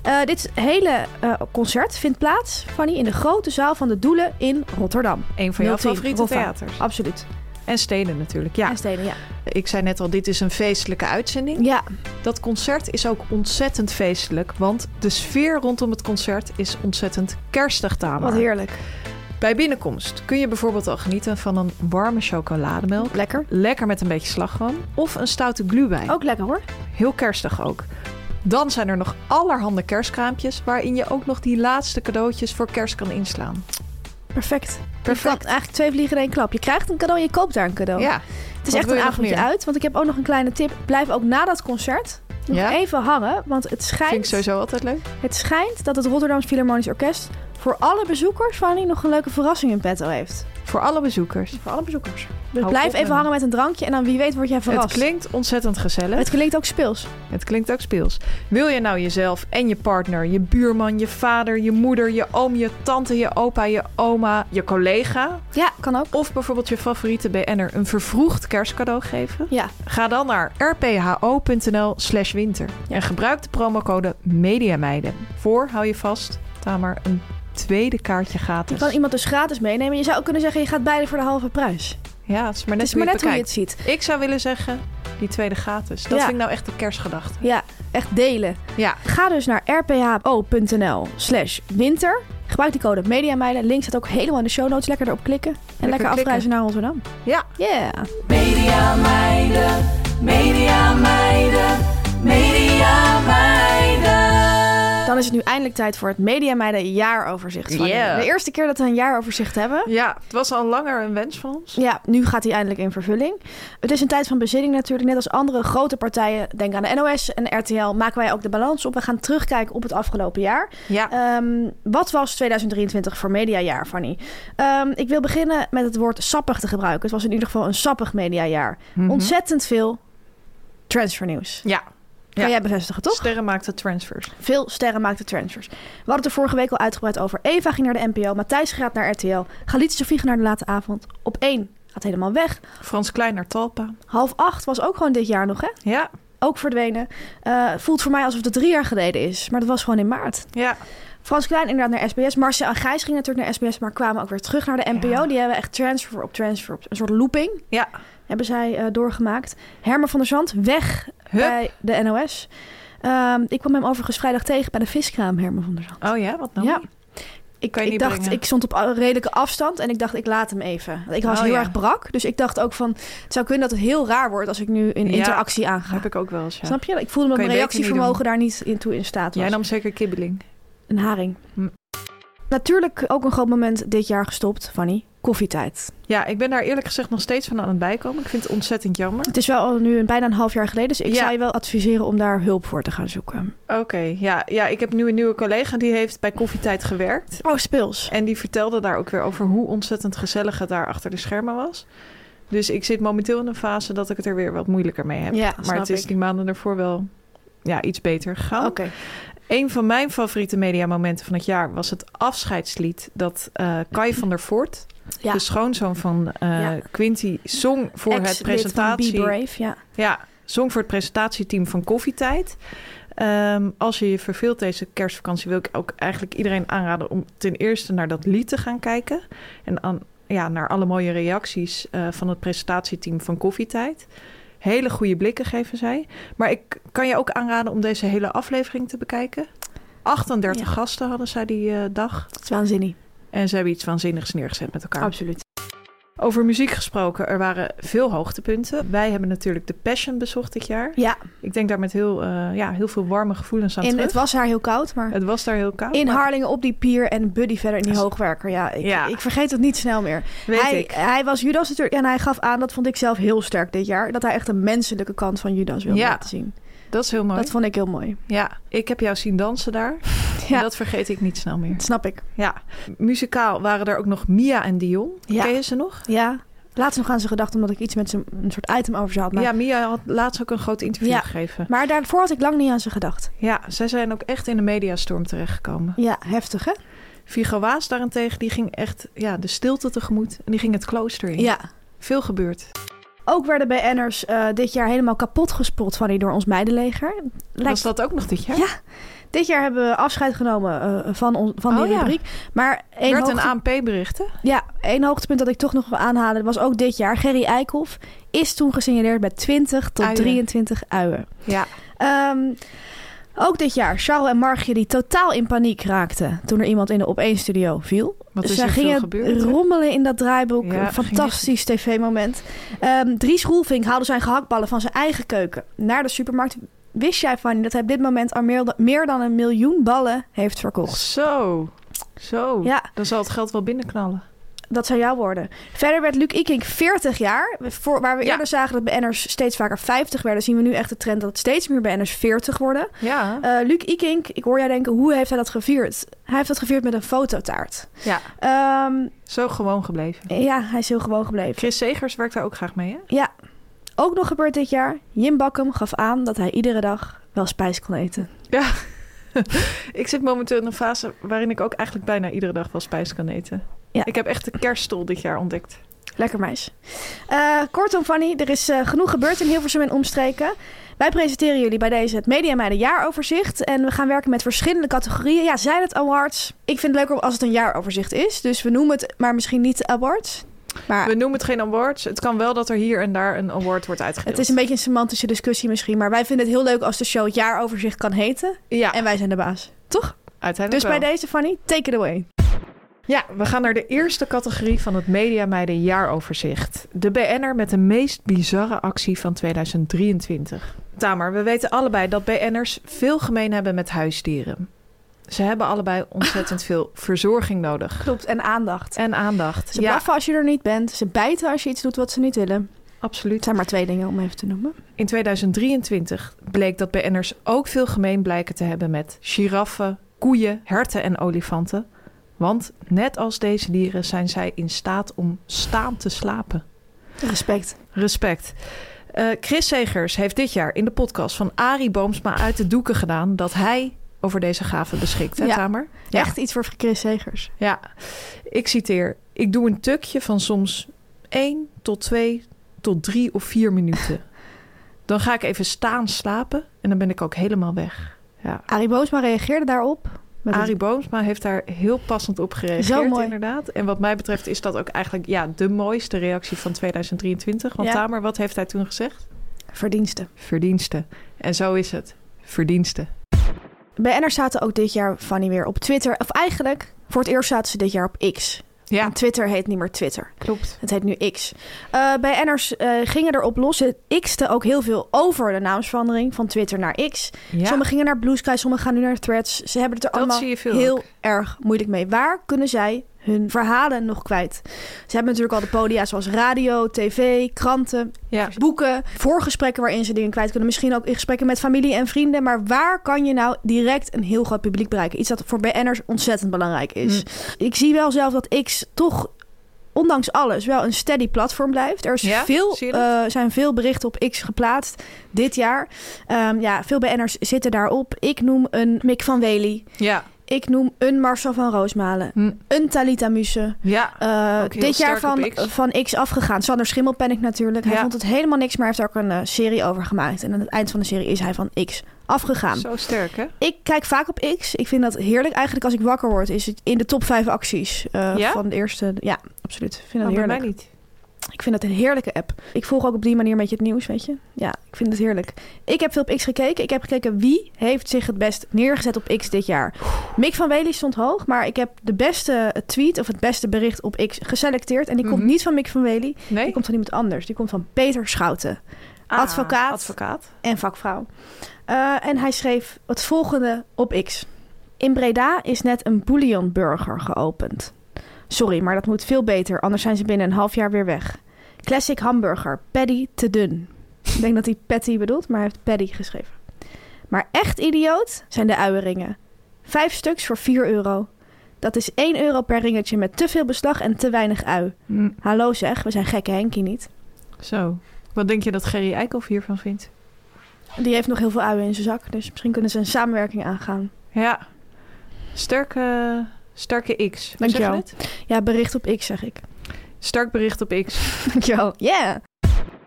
Speaker 2: Eh, dit hele eh, concert vindt plaats, Fanny, in de grote zaal van de Doelen in Rotterdam.
Speaker 1: Een van jouw
Speaker 2: 010,
Speaker 1: favoriete
Speaker 2: Roffa.
Speaker 1: theaters.
Speaker 2: Absoluut.
Speaker 1: En steden natuurlijk. Ja,
Speaker 2: En steden, ja.
Speaker 1: ik zei net al, dit is een feestelijke uitzending.
Speaker 2: Ja,
Speaker 1: Dat concert is ook ontzettend feestelijk, want de sfeer rondom het concert is ontzettend kerstig, Tamer.
Speaker 2: wat heerlijk.
Speaker 1: Bij binnenkomst kun je bijvoorbeeld al genieten van een warme chocolademelk.
Speaker 2: Lekker.
Speaker 1: Lekker met een beetje slagroom. Of een stoute glühwein.
Speaker 2: Ook lekker hoor.
Speaker 1: Heel kerstig ook. Dan zijn er nog allerhande kerstkraampjes... waarin je ook nog die laatste cadeautjes voor kerst kan inslaan.
Speaker 2: Perfect.
Speaker 1: Perfect.
Speaker 2: Je kan eigenlijk twee vliegen in één klap. Je krijgt een cadeau en je koopt daar een cadeau.
Speaker 1: Ja,
Speaker 2: het is
Speaker 1: wat
Speaker 2: echt
Speaker 1: wil
Speaker 2: een
Speaker 1: je nog
Speaker 2: avondje
Speaker 1: meer?
Speaker 2: uit. Want ik heb ook nog een kleine tip. Blijf ook na dat concert nog
Speaker 1: Ja?
Speaker 2: even hangen. Want het
Speaker 1: vind ik
Speaker 2: schijnt,
Speaker 1: sowieso altijd leuk.
Speaker 2: het schijnt dat het Rotterdams Philharmonisch Orkest voor alle bezoekers van die nog een leuke verrassing in petto heeft.
Speaker 1: Voor alle bezoekers.
Speaker 2: Voor alle bezoekers. Dus
Speaker 1: Hou
Speaker 2: blijf
Speaker 1: op
Speaker 2: even
Speaker 1: met-
Speaker 2: hangen met een drankje en dan wie weet word jij verrast.
Speaker 1: Het klinkt ontzettend gezellig.
Speaker 2: Het klinkt ook speels.
Speaker 1: Het klinkt ook speels. Wil je nou jezelf en je partner, je buurman, je vader, je moeder, je oom, je tante, je opa, je oma, je collega...
Speaker 2: Ja, kan ook.
Speaker 1: Of bijvoorbeeld je favoriete BN'er een vervroegd kerstcadeau geven?
Speaker 2: Ja,
Speaker 1: Ga dan naar rpho.nl slash winter en gebruik de promocode MEDIAMEIDEN voor, hou je vast, Tamer een tweede kaartje
Speaker 2: Je
Speaker 1: gratis.
Speaker 2: kan iemand dus gratis meenemen. Je zou ook kunnen zeggen, je gaat beide voor de halve prijs.
Speaker 1: Ja, het is maar
Speaker 2: Het
Speaker 1: net,
Speaker 2: is maar net hoe je
Speaker 1: bekijkt.
Speaker 2: het ziet.
Speaker 1: Ik zou willen zeggen, die tweede gratis. Dat
Speaker 2: Ja.
Speaker 1: vind ik nou echt de kerstgedachte.
Speaker 2: Ja, echt delen.
Speaker 1: Ja.
Speaker 2: Ga dus naar rpho.nl slash winter. Gebruik die code Mediamijlen. Link staat ook helemaal in de show notes. Lekker erop klikken. En lekker,
Speaker 1: klikken.
Speaker 2: afreizen naar Rotterdam.
Speaker 1: Ja.
Speaker 2: Yeah.
Speaker 3: Media meiden, media meiden, media meiden.
Speaker 2: Dan is het nu eindelijk tijd voor het Mediamijlen jaaroverzicht. van
Speaker 1: Yeah.
Speaker 2: jullie. De eerste keer dat we een jaaroverzicht hebben.
Speaker 1: Ja, het was al langer een wens van ons.
Speaker 2: Ja, nu gaat hij eindelijk in vervulling. Het is een tijd van bezinning natuurlijk. Net als andere grote partijen, denk aan de NOS en RTL, maken wij ook de balans op. We gaan terugkijken op het afgelopen jaar.
Speaker 1: Ja.
Speaker 2: Ehm, wat was 2023 voor mediajaar, Fanny? Ehm, ik wil beginnen met het woord sappig te gebruiken. Het was in ieder geval een sappig mediajaar. Ontzettend veel transfernieuws.
Speaker 1: Ja.
Speaker 2: Kan
Speaker 1: Ja.
Speaker 2: jij bevestigen, toch?
Speaker 1: Sterren maakte transfers.
Speaker 2: Veel sterren maakten transfers. We hadden het er vorige week al uitgebreid over. Eva ging naar de NPO, Matthijs gaat naar RTL, Galit Sofie ging naar de late avond. Op één gaat helemaal weg.
Speaker 1: Frans Klein naar Talpa.
Speaker 2: Half acht was ook gewoon dit jaar nog, hè?
Speaker 1: Ja.
Speaker 2: Ook verdwenen. Eh, voelt voor mij alsof het drie jaar geleden is, maar dat was gewoon in maart.
Speaker 1: Ja.
Speaker 2: Frans Klein inderdaad naar SBS. Marcia en Gijs gingen natuurlijk naar SBS, maar kwamen ook weer terug naar de NPO.
Speaker 1: Ja.
Speaker 2: Die hebben echt transfer op transfer op een soort looping
Speaker 1: Ja.
Speaker 2: hebben zij eh, doorgemaakt. Herman van der Zand weg
Speaker 1: Hup.
Speaker 2: bij de NOS. Ehm, ik kwam hem overigens vrijdag tegen bij de viskraam, Herman van der Zand.
Speaker 1: Oh ja, wat nou?
Speaker 2: Ja. Ik,
Speaker 1: Kan je
Speaker 2: ik
Speaker 1: niet
Speaker 2: dacht,
Speaker 1: brengen.
Speaker 2: ik stond op a- redelijke afstand en ik dacht, ik laat hem even. Want Ik was
Speaker 1: Oh,
Speaker 2: heel
Speaker 1: ja.
Speaker 2: erg brak, dus ik dacht ook van, het zou kunnen dat het heel raar wordt als ik nu in
Speaker 1: Ja.
Speaker 2: interactie aanga.
Speaker 1: Heb ik ook wel eens, ja.
Speaker 2: Snap je? Ik voelde dat
Speaker 1: Kan je
Speaker 2: mijn
Speaker 1: beter niet
Speaker 2: reactievermogen daar niet in toe in staat was.
Speaker 1: Jij nam zeker kibbeling.
Speaker 2: Een haring.
Speaker 1: Hm.
Speaker 2: Natuurlijk ook een groot moment dit jaar gestopt, Fanny. Koffietijd.
Speaker 1: Ja, ik ben daar eerlijk gezegd nog steeds van aan het bijkomen. Ik vind het ontzettend jammer.
Speaker 2: Het is wel al nu een, bijna een half jaar geleden, dus ik
Speaker 1: Ja.
Speaker 2: zou je wel adviseren om daar hulp voor te gaan zoeken.
Speaker 1: Oké, ja, ja. Ik heb nu een nieuwe collega die heeft bij Koffietijd gewerkt.
Speaker 2: Oh, speels.
Speaker 1: En die vertelde daar ook weer over hoe ontzettend gezellig het daar achter de schermen was. Dus ik zit momenteel in een fase dat ik het er weer wat moeilijker mee heb.
Speaker 2: Ja,
Speaker 1: maar
Speaker 2: snap
Speaker 1: het is
Speaker 2: ik.
Speaker 1: die maanden daarvoor wel ja, iets beter gegaan.
Speaker 2: Oké.
Speaker 1: Een van mijn favoriete mediamomenten van het jaar was het afscheidslied dat eh, Kai van der Voort,
Speaker 2: Ja.
Speaker 1: de schoonzoon van eh
Speaker 2: Ja.
Speaker 1: Quinty, zong voor
Speaker 2: Ex-lid
Speaker 1: het
Speaker 2: van
Speaker 1: presentatie.
Speaker 2: Be Brave, ja.
Speaker 1: Ja, zong voor het presentatieteam van Koffietijd. Ehm, als je je verveelt deze kerstvakantie, wil ik ook eigenlijk iedereen aanraden om ten eerste naar dat lied te gaan kijken. En aan, ja, naar alle mooie reacties eh, van het presentatieteam van Koffietijd. Hele goede blikken geven zij. Maar ik kan je ook aanraden om deze hele aflevering te bekijken. 38
Speaker 2: Ja.
Speaker 1: gasten hadden zij die eh, dag.
Speaker 2: Dat is waanzinnig.
Speaker 1: En ze hebben iets waanzinnigs neergezet met elkaar.
Speaker 2: Absoluut.
Speaker 1: Over muziek gesproken, er waren veel hoogtepunten. Wij hebben natuurlijk The Passion bezocht dit jaar.
Speaker 2: Ja,
Speaker 1: Ik denk daar met heel, eh, ja, heel veel warme gevoelens aan
Speaker 2: en
Speaker 1: terug.
Speaker 2: het
Speaker 1: Het,
Speaker 2: was daar heel koud, maar
Speaker 1: was daar heel koud.
Speaker 2: in
Speaker 1: maar-
Speaker 2: Harlingen op die pier en Buddy verder in die
Speaker 1: Dat is-
Speaker 2: hoogwerker. Ja ik,
Speaker 1: Ja.
Speaker 2: ik vergeet het niet snel meer.
Speaker 1: Weet
Speaker 2: hij,
Speaker 1: ik.
Speaker 2: hij was Judas natuurlijk en hij gaf aan, dat vond ik zelf heel sterk dit jaar, dat hij echt de menselijke kant van Judas wilde
Speaker 1: Ja.
Speaker 2: laten zien.
Speaker 1: Dat is heel mooi.
Speaker 2: Dat vond ik heel mooi.
Speaker 1: Ja, ik heb jou zien dansen daar.
Speaker 2: Ja.
Speaker 1: Dat vergeet ik niet snel meer.
Speaker 2: Dat snap ik.
Speaker 1: Ja. Muzikaal waren er ook nog Mia en Dion.
Speaker 2: Ja.
Speaker 1: Ken je ze nog?
Speaker 2: Ja. Laatst nog aan ze gedacht omdat ik iets met ze een soort item over ze had. Maar,
Speaker 1: Ja, Mia had laatst ook een groot interview
Speaker 2: Ja.
Speaker 1: gegeven.
Speaker 2: maar daarvoor had ik lang niet aan ze gedacht.
Speaker 1: Ja, zij zijn ook echt in de mediastorm terechtgekomen.
Speaker 2: Ja, heftig hè?
Speaker 1: Vigo Waas daarentegen, die ging echt ja, de stilte tegemoet. En die ging het klooster in.
Speaker 2: Ja.
Speaker 1: Veel gebeurd.
Speaker 2: Ook werden BN'ers eh dit jaar helemaal kapot gespot van die door ons meidenleger.
Speaker 1: Was dat ook nog dit jaar?
Speaker 2: Ja, Dit jaar hebben we afscheid genomen eh, van, on- van die
Speaker 1: Oh, ja.
Speaker 2: rubriek. Maar één
Speaker 1: Werd
Speaker 2: hoogte-
Speaker 1: een ANP-bericht, hè?
Speaker 2: Ja, één hoogtepunt dat ik toch nog wil aanhalen was ook dit jaar. Gerry Eikhoff is toen gesignaleerd met 20 tot
Speaker 1: Uien.
Speaker 2: 23 uien.
Speaker 1: Ja.
Speaker 2: Ehm, ook dit jaar, Charles en Margie die totaal in paniek raakten toen er iemand in de Opeen-studio viel.
Speaker 1: Wat is
Speaker 2: Zij
Speaker 1: er veel
Speaker 2: gingen
Speaker 1: gebeurd, hè?
Speaker 2: rommelen in dat draaiboek.
Speaker 1: Ja,
Speaker 2: Een fantastisch tv-moment. Ehm Dries Roelvink haalde zijn gehaktballen van zijn eigen keuken naar de supermarkt. Wist jij, Fanny, dat hij op dit moment al meer dan- meer dan een miljoen ballen heeft verkocht?
Speaker 1: Zo. Zo.
Speaker 2: Oh. Ja,
Speaker 1: Dan zal het geld wel binnenknallen.
Speaker 2: Dat zou jou worden. Verder werd Luc Ikink 40 jaar. Voor, waar we
Speaker 1: Ja.
Speaker 2: eerder zagen dat BN'ers steeds vaker 50 werden... zien we nu echt de trend dat steeds meer BN'ers 40 worden.
Speaker 1: Ja.
Speaker 2: Eh Luc Ikink, ik hoor jij denken, hoe heeft hij dat gevierd? Hij heeft dat gevierd met een fototaart.
Speaker 1: ja.
Speaker 2: Ehm,
Speaker 1: Zo gewoon gebleven.
Speaker 2: ja, hij is heel gewoon gebleven.
Speaker 1: Chris Segers werkt daar ook graag mee, hè?
Speaker 2: Ja, ook nog gebeurd dit jaar. Jim Bakkum gaf aan dat hij iedere dag wel spijs kon eten.
Speaker 1: Ja. ik zit momenteel in een fase waarin ik ook eigenlijk bijna iedere dag wel spijs kan eten.
Speaker 2: Ja.
Speaker 1: Ik heb echt de kerststol dit jaar ontdekt.
Speaker 2: Lekker meis. Eh, kortom, Fanny, er is eh, genoeg gebeurd in Hilversum en omstreken. Wij presenteren jullie bij deze het Media Meiden Jaaroverzicht. En we gaan werken met verschillende categorieën. Ja, zijn het awards? Ik vind het leuker als het een jaaroverzicht is. Dus we noemen het maar misschien niet awards. Maar
Speaker 1: We noemen het geen awards. Het kan wel dat er hier en daar een award wordt uitgedeeld.
Speaker 2: het is een beetje een semantische discussie misschien. Maar wij vinden het heel leuk als de show het jaaroverzicht kan heten.
Speaker 1: Ja,
Speaker 2: En wij zijn de baas. Toch?
Speaker 1: uiteindelijk
Speaker 2: Dus bij
Speaker 1: wel.
Speaker 2: deze, Fanny, take it away.
Speaker 1: Ja, we gaan naar de eerste categorie van het Media Meiden Jaaroverzicht. De BN'er met de meest bizarre actie van 2023. Tamer, we weten allebei dat BN'ers veel gemeen hebben met huisdieren. Ze hebben allebei ontzettend veel verzorging nodig.
Speaker 2: Klopt, en aandacht.
Speaker 1: En aandacht.
Speaker 2: Ze
Speaker 1: ja,
Speaker 2: blaffen als je er niet bent. Ze bijten als je iets doet wat ze niet willen. Het
Speaker 1: absoluut.
Speaker 2: zijn maar twee dingen om even te noemen.
Speaker 1: In 2023 bleek dat BN'ers ook veel gemeen blijken te hebben met giraffen, koeien, herten en olifanten. Want net als deze dieren zijn zij in staat om staand te slapen.
Speaker 2: Respect.
Speaker 1: Respect. Eh, Chris Segers heeft dit jaar in de podcast van Arie Boomsma uit de doeken gedaan dat hij over deze gave beschikt, hè
Speaker 2: Ja.
Speaker 1: Tamer?
Speaker 2: Echt iets voor Chris Segers.
Speaker 1: Ja. Ik citeer, ik doe een tukje van soms 1 tot 2 tot 3 of 4 minuten. Dan ga ik even staan slapen en dan ben ik ook helemaal weg. Ja.
Speaker 2: Arie Boosma reageerde daarop. Met
Speaker 1: Arie Boomsma heeft daar heel passend op gereageerd,
Speaker 2: Zo mooi.
Speaker 1: inderdaad. En wat mij betreft is dat ook eigenlijk ja, de mooiste reactie van 2023. Want
Speaker 2: Ja.
Speaker 1: Tamer, wat heeft hij toen gezegd?
Speaker 2: het verdiensten.
Speaker 1: Verdiensten. En zo is het. Verdiensten.
Speaker 2: BN'ers zaten ook dit jaar, Fanny, weer op Twitter. Of eigenlijk, voor het eerst zaten ze dit jaar op X.
Speaker 1: Ja,
Speaker 2: En Twitter heet niet meer Twitter.
Speaker 1: klopt.
Speaker 2: Het heet nu X. Eh BN'ers eh gingen erop los. Het X'te ook heel veel over de naamsverandering van Twitter naar X.
Speaker 1: Ja.
Speaker 2: Sommigen gingen naar Blue Sky, sommigen gaan nu naar Threads. Ze hebben het er
Speaker 1: Dat
Speaker 2: allemaal
Speaker 1: zie je veel
Speaker 2: heel
Speaker 1: ook.
Speaker 2: erg moeilijk mee. Waar kunnen zij hun verhalen nog kwijt? Ze hebben natuurlijk al de podia zoals radio, tv, kranten,
Speaker 1: Ja.
Speaker 2: boeken, voorgesprekken waarin ze dingen kwijt kunnen. Misschien ook in gesprekken met familie en vrienden. Maar waar kan je nou direct een heel groot publiek bereiken? Iets dat voor BN'ers ontzettend belangrijk is.
Speaker 1: Mm.
Speaker 2: Ik zie wel zelf dat X toch ondanks alles wel een steady platform blijft. Er is
Speaker 1: Ja,
Speaker 2: veel,
Speaker 1: zie je dat?
Speaker 2: eh, zijn veel berichten op X geplaatst dit jaar. Ehm, ja, veel BN'ers zitten daarop. Ik noem een Mick van Wely.
Speaker 1: Ja.
Speaker 2: Ik noem een Marcel van Roosmalen.
Speaker 1: Hm.
Speaker 2: Een Talita Muse.
Speaker 1: Ja.
Speaker 2: Eh,
Speaker 1: Ook heel
Speaker 2: dit jaar
Speaker 1: sterk
Speaker 2: van
Speaker 1: op
Speaker 2: X.
Speaker 1: X.
Speaker 2: van X afgegaan. Sander Schimmelpennink natuurlijk. Hij
Speaker 1: Ja.
Speaker 2: vond het helemaal niks, maar hij heeft er ook een eh, serie over gemaakt. En aan het eind van de serie is hij van X afgegaan.
Speaker 1: Zo sterk, hè?
Speaker 2: Ik kijk vaak op X. Ik vind dat heerlijk. Eigenlijk als ik wakker word, is het in de top 5 acties eh,
Speaker 1: Ja?
Speaker 2: van de eerste. Ja, absoluut. Ik vind
Speaker 1: Nou,
Speaker 2: dat
Speaker 1: bij mij
Speaker 2: heerlijk.
Speaker 1: niet.
Speaker 2: Ik vind dat een heerlijke app. Ik volg ook op die manier met je het nieuws, weet je. Ja, ik vind het heerlijk. Ik heb veel op X gekeken. Ik heb gekeken wie heeft zich het best neergezet op X dit jaar. Mick van Wely stond hoog, maar ik heb de beste tweet of het beste bericht op X geselecteerd. En die
Speaker 1: Mhm.
Speaker 2: komt niet van Mick van Wely, die
Speaker 1: Nee?
Speaker 2: komt van iemand anders. Die komt van Peter Schouten
Speaker 1: Ah,
Speaker 2: advocaat.
Speaker 1: Advocaat.
Speaker 2: en vakvrouw. Eh, en hij schreef het volgende op X. In Breda is net een bouillonburger geopend. Sorry, maar dat moet veel beter, anders zijn ze binnen een half jaar weer weg. Classic hamburger, patty te dun. Ik denk dat hij patty bedoelt, maar hij heeft paddy geschreven. Maar echt idioot zijn de uieringen. Vijf stuks voor 4 euro. Dat is 1 euro per ringetje met te veel beslag en te weinig ui.
Speaker 1: Hm.
Speaker 2: Hallo zeg, we zijn gekke Henkie niet.
Speaker 1: Zo. Wat denk je dat Gerry Eikhoff hiervan vindt?
Speaker 2: Die heeft nog heel veel uien in zijn zak, dus misschien kunnen ze een samenwerking aangaan.
Speaker 1: Ja. Sterke, eh, sterke X. Hoe
Speaker 2: Dank
Speaker 1: zeg je
Speaker 2: jou.
Speaker 1: het?
Speaker 2: Ja, bericht op X zeg ik.
Speaker 1: Sterk bericht op X.
Speaker 2: Dankjewel. Yeah.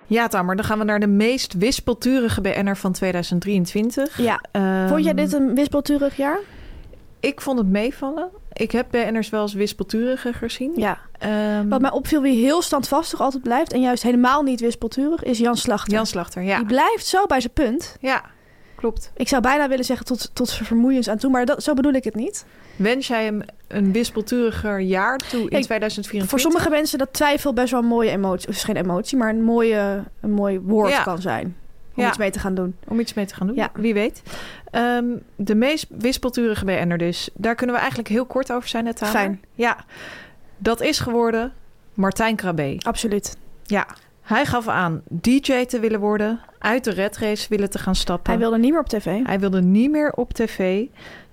Speaker 1: Ja, Tamer, dan gaan we naar de meest wispelturige BN'er van 2023.
Speaker 2: Ja.
Speaker 1: Ehm,
Speaker 2: Vond jij dit een wispelturig jaar?
Speaker 1: Ik vond het meevallen. Ik heb BN'ers wel eens wispelturiger gezien.
Speaker 2: Ja.
Speaker 1: Ehm,
Speaker 2: Wat mij opviel, wie heel standvastig altijd blijft en juist helemaal niet wispelturig, is Jan Slachter.
Speaker 1: Jan Slachter, ja.
Speaker 2: Die blijft zo bij zijn punt.
Speaker 1: Ja, klopt.
Speaker 2: Ik zou bijna willen zeggen tot, tot zijn vermoeiens aan toe, maar dat, zo bedoel ik het niet.
Speaker 1: Wens jij hem een wispelturiger jaar toe in
Speaker 2: Ik-
Speaker 1: 2024?
Speaker 2: Voor sommige mensen dat twijfel best wel een mooie emotie, of is geen emotie, maar een, mooie, een mooi woord
Speaker 1: Ja.
Speaker 2: kan zijn. Om
Speaker 1: Ja.
Speaker 2: iets mee te gaan doen.
Speaker 1: Om iets mee te gaan doen,
Speaker 2: Ja.
Speaker 1: wie weet. Ehm, de meest wispelturige BN'er dus. Daar kunnen we eigenlijk heel kort over zijn net aan.
Speaker 2: Fijn.
Speaker 1: Ja, dat is geworden Martijn Krabbe.
Speaker 2: Absoluut.
Speaker 1: Ja, hij gaf aan DJ te willen worden. Uit de red race willen te gaan stappen.
Speaker 2: Hij wilde niet meer op tv.
Speaker 1: Hij wilde niet meer op tv.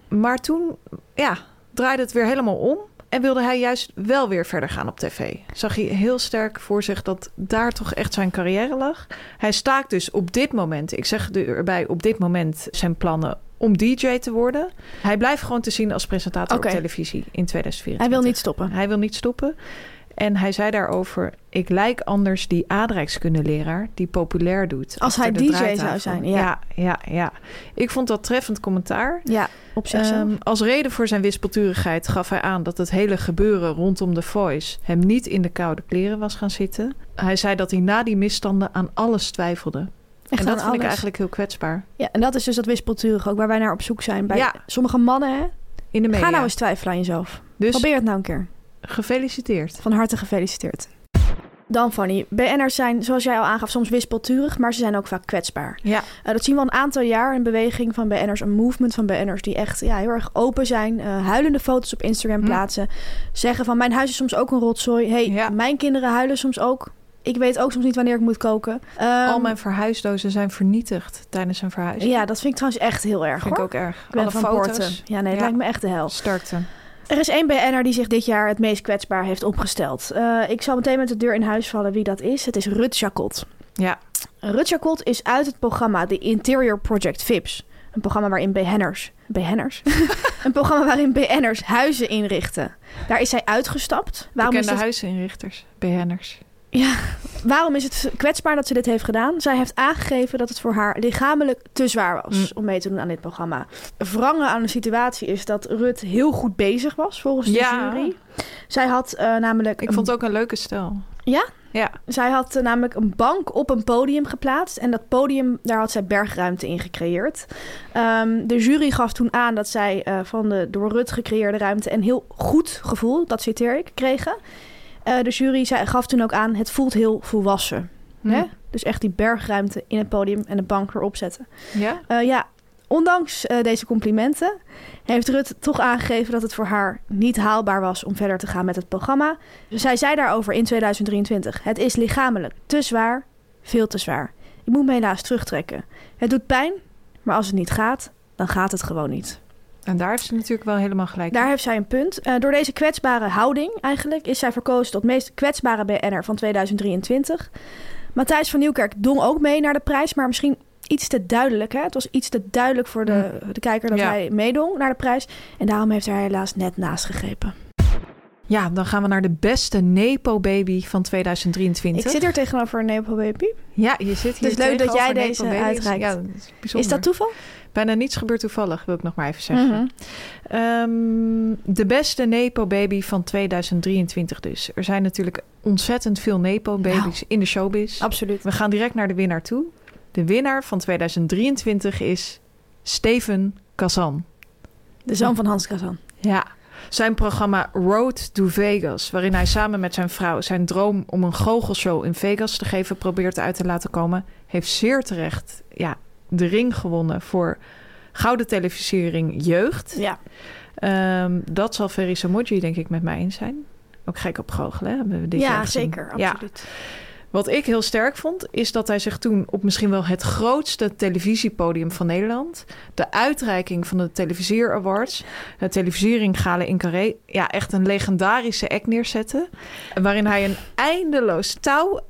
Speaker 1: Maar toen ja, draaide het weer helemaal om. En wilde hij juist wel weer verder gaan op tv. Zag hij heel sterk voor zich dat daar toch echt zijn carrière lag. Hij staakt dus op dit moment, ik zeg erbij, op dit moment zijn plannen om DJ te worden. Hij blijft gewoon te zien als presentator
Speaker 2: Oké.
Speaker 1: op televisie in 2024.
Speaker 2: Hij wil niet stoppen.
Speaker 1: Hij wil niet stoppen. En hij zei daarover, ik lijk anders die aardrijkskundeleraar die populair doet.
Speaker 2: Als hij
Speaker 1: achter de
Speaker 2: DJ zou
Speaker 1: draaitafel.
Speaker 2: zijn, ja.
Speaker 1: ja. Ja, ja. Ik vond dat treffend commentaar.
Speaker 2: Ja, op zichzelf.
Speaker 1: Ehm, als reden voor zijn wispelturigheid gaf hij aan dat het hele gebeuren rondom The Voice hem niet in de koude kleren was gaan zitten. Hij zei dat hij na die misstanden aan alles twijfelde.
Speaker 2: Echt
Speaker 1: en
Speaker 2: aan
Speaker 1: dat vind ik
Speaker 2: alles.
Speaker 1: eigenlijk heel kwetsbaar.
Speaker 2: Ja, en dat is dus dat wispelturig ook waar wij naar op zoek zijn. Bij
Speaker 1: Ja.
Speaker 2: sommige mannen, hè?
Speaker 1: In de media.
Speaker 2: Ga nou eens twijfelen aan jezelf.
Speaker 1: dus
Speaker 2: Probeer het nou een keer.
Speaker 1: gefeliciteerd.
Speaker 2: Van harte gefeliciteerd. Dan Fanny, BN'ers zijn, zoals jij al aangaf, soms wispelturig, maar ze zijn ook vaak kwetsbaar.
Speaker 1: Ja.
Speaker 2: Eh, dat zien we al een aantal jaar, een beweging van BN'ers, een movement van BN'ers die echt ja, heel erg open zijn, eh, huilende foto's op Instagram
Speaker 1: Hm.
Speaker 2: plaatsen, zeggen van mijn huis is soms ook een rotzooi, hey,
Speaker 1: Ja.
Speaker 2: mijn kinderen huilen soms ook, ik weet ook soms niet wanneer ik moet koken. Ehm,
Speaker 1: Al mijn verhuisdozen zijn vernietigd tijdens een verhuis.
Speaker 2: Ja, dat vind ik trouwens echt heel erg
Speaker 1: vind ik
Speaker 2: hoor.
Speaker 1: ook erg.
Speaker 2: Ik ben
Speaker 1: Alle
Speaker 2: van
Speaker 1: foto's.
Speaker 2: Poorten. Ja, nee, het
Speaker 1: Ja.
Speaker 2: lijkt me echt de hel.
Speaker 1: Sterkte.
Speaker 2: Er is één BN'er die zich dit jaar het meest kwetsbaar heeft opgesteld. Eh, ik zal meteen met de deur in huis vallen wie dat is. Het is Rut Jacot.
Speaker 1: Ja.
Speaker 2: Rut Jacot is uit het programma The Interior Project VIPS. Een programma waarin BN'ers... BN'ers? een programma waarin BN'ers huizen inrichten. Daar is zij uitgestapt. Waarom is,
Speaker 1: Bekende
Speaker 2: het,
Speaker 1: huisinrichters. BN'ers.
Speaker 2: waarom is het kwetsbaar dat ze dit heeft gedaan? Zij heeft aangegeven dat het voor haar lichamelijk te zwaar
Speaker 1: Mm.
Speaker 2: was om mee te doen aan dit programma. Wrangen aan de situatie is dat Rut heel goed bezig was volgens de
Speaker 1: Ja.
Speaker 2: jury. Zij had eh, namelijk...
Speaker 1: Ik
Speaker 2: een
Speaker 1: vond het ook een leuke stijl.
Speaker 2: Ja?
Speaker 1: Ja.
Speaker 2: Zij had eh, namelijk een bank op een podium geplaatst. En dat podium, daar had zij bergruimte in gecreëerd. Ehm, de jury gaf toen aan dat zij eh, van de door Rut gecreëerde ruimte een heel goed gevoel, dat citeer ik, kregen. Eh, de jury zei, gaf toen ook aan, het voelt heel volwassen.
Speaker 1: Hm.
Speaker 2: Hè? Dus echt die bergruimte in het podium en de bank erop zetten.
Speaker 1: Ja?
Speaker 2: Eh, ja, ondanks eh, deze complimenten heeft Rut toch aangegeven dat het voor haar niet haalbaar was om verder te gaan met het programma. Zij zei daarover in 2023: Het is lichamelijk te zwaar, veel te zwaar. Ik moet me helaas terugtrekken. Het doet pijn, maar als het niet gaat, dan gaat het gewoon niet.
Speaker 1: En daar heeft ze natuurlijk wel helemaal gelijk.
Speaker 2: Daar heeft zij een punt. Eh, door deze kwetsbare houding eigenlijk is zij verkozen tot meest kwetsbare BN'er van 2023. Matthijs van Nieuwkerk dong ook mee naar de prijs, maar misschien iets te duidelijk. Hè? Het was iets te duidelijk voor de, de kijker dat
Speaker 1: Ja.
Speaker 2: hij meedong naar de prijs. En daarom heeft hij helaas net naast gegrepen.
Speaker 1: Ja, dan gaan we naar de beste Nepo-baby van 2023.
Speaker 2: Ik zit hier tegenover Nepo Baby.
Speaker 1: Ja, je zit hier
Speaker 2: Dus leuk dat
Speaker 1: tegenover
Speaker 2: jij
Speaker 1: Nepo
Speaker 2: deze
Speaker 1: baby's.
Speaker 2: uitreikt.
Speaker 1: Ja, dat is
Speaker 2: Is
Speaker 1: bijzonder.
Speaker 2: dat Mhm. toeval?
Speaker 1: Bijna niets gebeurt toevallig, wil ik nog maar even zeggen. Ehm, de beste Nepo-baby van 2023 dus. Er zijn natuurlijk ontzettend veel
Speaker 2: Nou.
Speaker 1: Nepo-babies in de showbiz.
Speaker 2: Absoluut.
Speaker 1: We gaan direct naar de winnaar toe. De winnaar van 2023 is Steven Kazan.
Speaker 2: De zoon van Hans Kazan.
Speaker 1: Ja. Zijn programma Road to Vegas, waarin hij samen met zijn vrouw zijn droom om een goochelshow in Vegas te geven probeert uit te laten komen, heeft zeer terecht ja, de ring gewonnen voor Gouden Televisiering Jeugd.
Speaker 2: Ja.
Speaker 1: Ehm, dat zal Ferry Samoji denk ik met mij eens zijn. Ook gek op goochelen, hè, hebben we dit jaar
Speaker 2: Ja,
Speaker 1: gezien.
Speaker 2: zeker.
Speaker 1: Ja.
Speaker 2: Absoluut.
Speaker 1: Wat ik heel sterk vond, is dat hij zich toen op misschien wel het grootste televisiepodium van Nederland, de uitreiking van de Televisier Awards, de televisiering Galen in Carré, ja, echt een legendarische act neerzette, waarin hij een eindeloos touw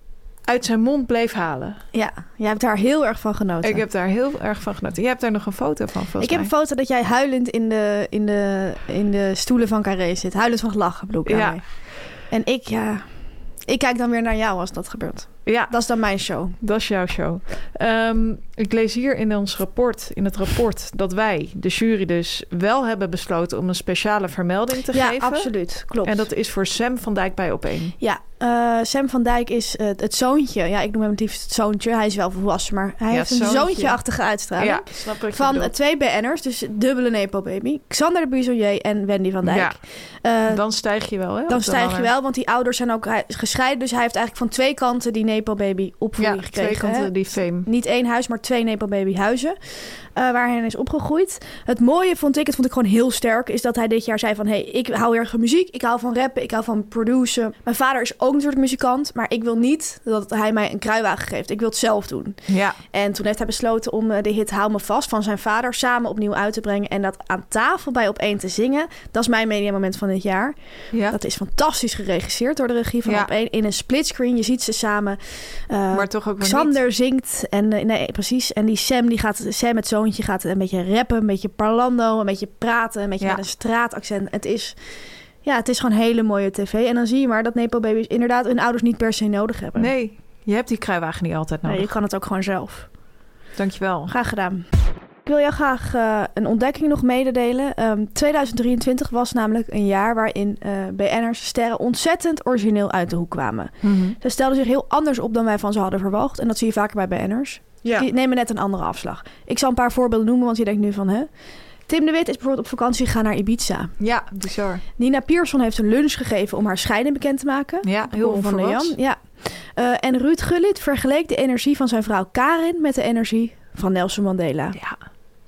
Speaker 1: uit zijn mond bleef halen.
Speaker 2: Ja. jij hebt daar heel erg van genoten.
Speaker 1: Ik heb daar heel erg van genoten. Jij hebt daar nog een foto van, volgens
Speaker 2: Ik heb een
Speaker 1: mij.
Speaker 2: foto dat jij huilend in de, in de, in de stoelen van Carré zit. Huilend van het lachen bedoel ik
Speaker 1: Ja.
Speaker 2: daarmee. En ik, ja... Ik kijk dan weer naar jou als dat gebeurt.
Speaker 1: Ja,
Speaker 2: Dat is dan mijn show.
Speaker 1: Dat is jouw show. Ehm, ik lees hier in ons rapport, in het rapport, dat wij, de jury dus, wel hebben besloten om een speciale vermelding te
Speaker 2: ja,
Speaker 1: geven.
Speaker 2: absoluut. Klopt.
Speaker 1: En dat is voor Sam van Dijk bij Opeen.
Speaker 2: Ja, eh, Sam van Dijk is eh, het zoontje. Ja, ik noem hem het liefst het zoontje. Hij is wel volwassen, maar hij
Speaker 1: Ja,
Speaker 2: heeft een
Speaker 1: zoontje.
Speaker 2: zoontje-achtige uitstraling.
Speaker 1: snap ik.
Speaker 2: Van eh, twee BN'ers, dus dubbele Nepo-baby. Xander de Buisonier en Wendy van Dijk.
Speaker 1: Ja.
Speaker 2: Eh,
Speaker 1: dan stijg je wel, hè?
Speaker 2: dan
Speaker 1: op de
Speaker 2: stijg je
Speaker 1: ladder.
Speaker 2: wel, want die ouders zijn ook hij- gescheiden. Dus hij heeft eigenlijk van twee kanten die Nepo-baby opvoeding
Speaker 1: Ja,
Speaker 2: gekregen.
Speaker 1: twee kanten
Speaker 2: hè?
Speaker 1: die fame.
Speaker 2: Niet één huis, maar twee Nepal-baby huizen. eh, waar hij in is opgegroeid. Het mooie vond ik, het vond ik gewoon heel sterk... is dat hij dit jaar zei van... hé, hey, ik hou heel erg van muziek, ik hou van rappen, ik hou van produceren. Mijn vader is ook natuurlijk muzikant... maar ik wil niet dat hij mij een kruiwagen geeft. Ik wil het zelf doen.
Speaker 1: Ja,
Speaker 2: En toen heeft hij besloten om eh, de hit Hou me vast... van zijn vader samen opnieuw uit te brengen... en dat aan tafel bij Opeen te zingen. Dat is mijn mediamoment van dit jaar.
Speaker 1: ja.
Speaker 2: Dat is fantastisch geregisseerd door de regie van
Speaker 1: Ja.
Speaker 2: Opeen. In een splitscreen, je ziet ze samen... eh,
Speaker 1: maar toch ook wel
Speaker 2: Xander zingt en eh, nee, precies. En die Sam, die gaat, Sam het zoontje, gaat een beetje rappen, een beetje parlando, een beetje praten, een beetje
Speaker 1: Ja.
Speaker 2: met een straataccent. Het is Ja, het is gewoon hele mooie tv. En dan zie je maar dat Nepo-baby's inderdaad hun ouders niet per se nodig hebben.
Speaker 1: Nee, je hebt die kruiwagen niet altijd
Speaker 2: Nee,
Speaker 1: nodig.
Speaker 2: je kan het ook gewoon zelf.
Speaker 1: Dankjewel.
Speaker 2: Graag gedaan. Ik wil jou graag eh, een ontdekking nog mededelen. Ehm, 2023 was namelijk een jaar waarin eh BN'ers sterren ontzettend origineel uit de hoek kwamen.
Speaker 1: Mhm.
Speaker 2: Ze stelden zich heel anders op dan wij van ze hadden verwacht. En dat zie je vaker bij BN'ers.
Speaker 1: Ja.
Speaker 2: Die nemen net een andere afslag. Ik zal een paar voorbeelden noemen, want je denkt nu van... Hè? Tim de Wit is bijvoorbeeld op vakantie gegaan naar Ibiza.
Speaker 1: ja, bizar.
Speaker 2: Nina Pierson heeft een lunch gegeven om haar scheiding bekend te maken.
Speaker 1: Ja, heel
Speaker 2: Ron van der
Speaker 1: onverwachts.
Speaker 2: Jan. Ja. Eh, en Ruud Gullit vergeleek de energie van zijn vrouw Karin met de energie van Nelson Mandela.
Speaker 1: Ja,